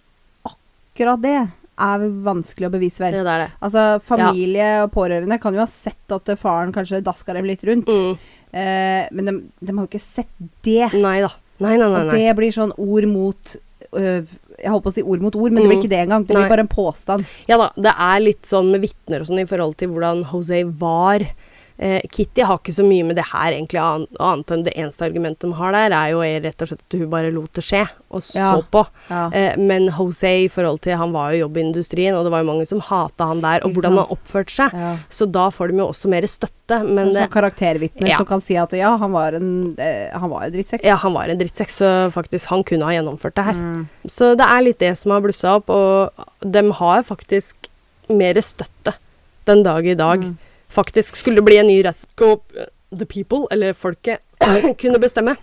B: akkurat det er vanskelig å bevise,
A: Det
B: vel.
A: der, det.
B: Altså, familie og pårørende kan jo ha sett at eh, faren kanskje daska dem litt rundt,
A: Mm.
B: eh, men de, de har jo ikke sett det.
A: Nei da. Nei, nei, nei.
B: Og
A: nei.
B: det blir sånn ord mot øh, Jeg holdt på å si ord mot ord, men det blir
A: Mm.
B: ikke det engang. Det
A: Nei.
B: blir bare en påstand.
A: Ja da, det er litt sånn med vitner og sånn i forhold til hvordan Jose var. Eh, Kitty har ikke så mye med det her egentlig an- annet enn det eneste argumentet de har der, er jo eh, rett og slett at hun bare lot det skje, og så
B: Ja.
A: på.
B: Ja.
A: Eh, Men Jose i forhold til Han var jo i jobb i industrien, og det var jo mange som hata han der, og
B: Ikke
A: hvordan
B: sant.
A: han oppførte seg.
B: Ja.
A: Så da får de jo også mer støtte, men eh,
B: Sånn
A: det,
B: karaktervitner
A: Ja.
B: som kan si at ja, han var en, eh, han var en drittsekk.
A: ja, han var en drittsekk, så faktisk, han kunne ha gjennomført det her.
B: Mm.
A: Så det er litt det som har blussa opp, og de har faktisk mer støtte den dag i dag.
B: Mm.
A: Faktisk skulle det bli en ny rettssak og eh, the people, eller folket, kunne bestemme,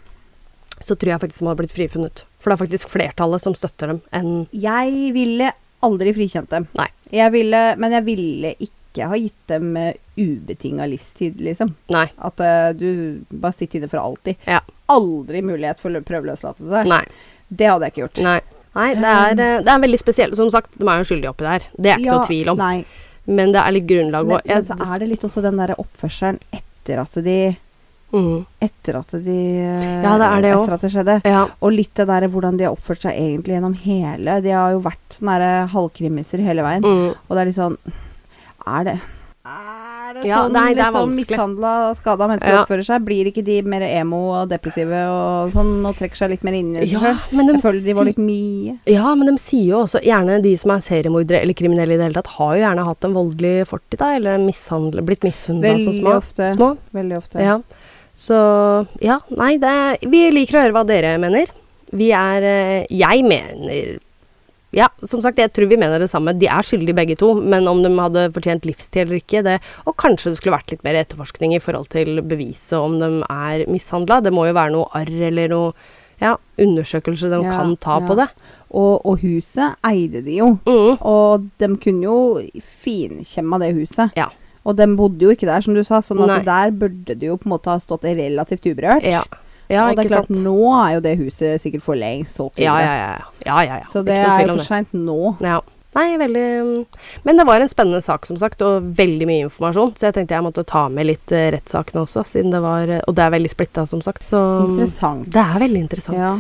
A: så tror jeg faktisk de hadde blitt frifunnet. For det er faktisk flertallet som støtter dem, enn
B: Jeg ville aldri frikjent dem.
A: Nei.
B: Jeg ville, men jeg ville ikke ha gitt dem eh, ubetinga livstid, liksom.
A: Nei.
B: At eh, du bare sitter inne for alltid.
A: Ja.
B: Aldri mulighet for lø- prøveløslatelse.
A: Nei.
B: Det hadde jeg ikke gjort.
A: Nei. Nei det, er, eh, det er veldig spesielt. Som sagt, de er jo skyldige oppi der. Det er ikke noe tvil om.
B: Nei.
A: Men det er litt grunnlag
B: Men,
A: òg.
B: men så er det litt også den derre oppførselen etter at de
A: mm.
B: Etter at de eh,
A: Ja, det er det også.
B: Etter at det skjedde.
A: Ja.
B: Og litt det der hvordan de har oppført seg egentlig gjennom hele De har jo vært sånne der eh, halvkrimmiser hele veien.
A: Mm.
B: Og det er litt sånn Er det Er det
A: Ja,
B: sånn
A: nei, det er
B: liksom
A: vanskelig.
B: mishandla, skada mennesker
A: Ja.
B: oppfører seg? Blir ikke de mer emo og depressive og sånn og trekker seg litt mer inn i seg
A: ja,
B: selv?
A: men de
B: Jeg føler de var
A: si-
B: litt mye.
A: Ja, men de sier jo også gjerne de som er seriemordere eller kriminelle i det hele tatt, har jo gjerne hatt en voldelig fortid, da, eller mishandlet- blitt mishandla som
B: Veldig
A: små.
B: ofte.
A: små.
B: Veldig ofte.
A: Ja. Så ja, nei, det er, Vi liker å høre hva dere mener. Vi er eh, Jeg mener ja, som sagt, jeg tror vi mener det samme. De er skyldige begge to, men om de hadde fortjent livstid eller ikke, det Og kanskje det skulle vært litt mer etterforskning i forhold til beviset om de er mishandla. Det må jo være noe arr eller noe ja, undersøkelse de
B: Ja,
A: kan ta
B: ja.
A: på det.
B: Og, og huset eide de jo.
A: Mm.
B: Og de kunne jo finkjemma det huset.
A: Ja.
B: Og de bodde jo ikke der, som du sa, sånn at
A: Nei.
B: der burde det jo på en måte ha stått relativt uberørt.
A: Ja, ja
B: og det
A: ikke
B: er klart,
A: sant.
B: nå er jo det huset sikkert for lengst solgt.
A: Ja,
B: videre.
A: ja, ja. ja, ja, ja.
B: Så det
A: ikke noe
B: er
A: tvil
B: jo
A: om
B: for seint nå.
A: Ja. Nei, veldig mm, Men det var en spennende sak, som sagt, og veldig mye informasjon. Så jeg tenkte jeg måtte ta med litt eh, rettssakene også, siden det var eh, Og det er veldig splitta, som sagt. Så mm,
B: Interessant.
A: det er veldig interessant.
B: Ja.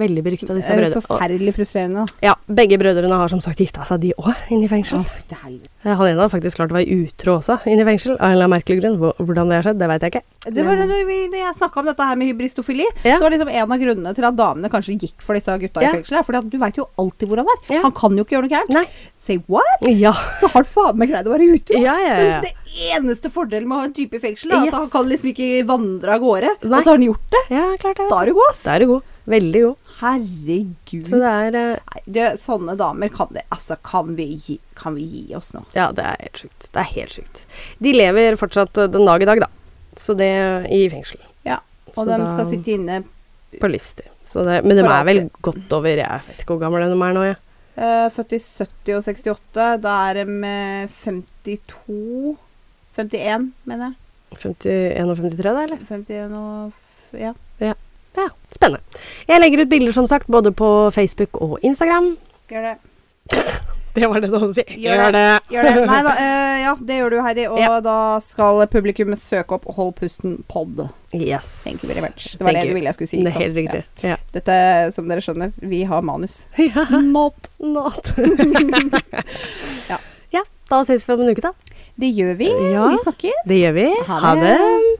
A: Veldig berykta,
B: Det
A: disse
B: er jo
A: brødrene. Og-
B: forferdelig frustrerende, da.
A: Ja, begge brødrene har som sagt gifta seg, de òg, inne i fengsel.
B: Å, fy til helvete.
A: Eh, Han ene har faktisk klart å være utro også, inne i fengsel, av en eller annen merkelig grunn. Hvor- Hvordan det har skjedd, det veit jeg ikke.
B: Det var, når vi- når jeg snakka om dette her med hybristofili,
A: Ja.
B: så var liksom en av grunnene til at damene kanskje gikk for disse gutta
A: Ja.
B: i fengselet. For du veit jo alltid hvor han er.
A: Ja.
B: Han kan jo ikke gjøre noe gærent.
A: Nei.
B: Say what?
A: Ja.
B: Så har han faen meg greid å være ute.
A: Ja, ja, ja.
B: Det er liksom det eneste fordelen med å ha en type i fengsel, er at
A: Yes.
B: han kan liksom ikke vandre av gårde.
A: Nei.
B: Og så har han gjort det.
A: Ja, klart det.
B: Da er du god, ass.
A: Da er du god. Veldig god.
B: Herregud.
A: Så det er eh,
B: Nei, det, sånne damer kan det Altså, kan vi gi, kan vi gi oss nå?
A: Ja, det er helt sjukt. Det er helt sjukt. De lever fortsatt eh, den dag i dag, da. Så det i fengsel.
B: Ja. Og
A: Så
B: de
A: da-
B: skal sitte inne
A: På livstid. Så det, men de
B: For
A: er vel
B: alltid.
A: godt over Jeg vet ikke hvor gamle de er nå, jeg.
B: eh, Født i 70 og 68. Da er de eh, 52 51, mener jeg.
A: 51 og 53, da, eller?
B: 51 og f- Ja.
A: Ja, spennende. Jeg legger ut bilder, som sagt, både på Facebook og Instagram.
B: Gjør det.
A: Det var det du hadde å si.
B: Gjør Gjør det. Nei da. eh, ja, det gjør du, Heidi. Og
A: Ja.
B: da skal publikum søke opp Hold pusten pod.
A: Yes.
B: Thank you very much. Det var det du ville jeg skulle si.
A: Det er
B: ikke
A: helt
B: sant?
A: riktig. Ja.
B: Ja. Dette, som dere skjønner, vi har manus. Not.
A: Not.
B: Ja.
A: ja. Da ses vi om en uke, da.
B: Det gjør vi.
A: Ja.
B: Vi snakkes.
A: Det gjør vi.
B: Ha
A: Ha
B: det.
A: det.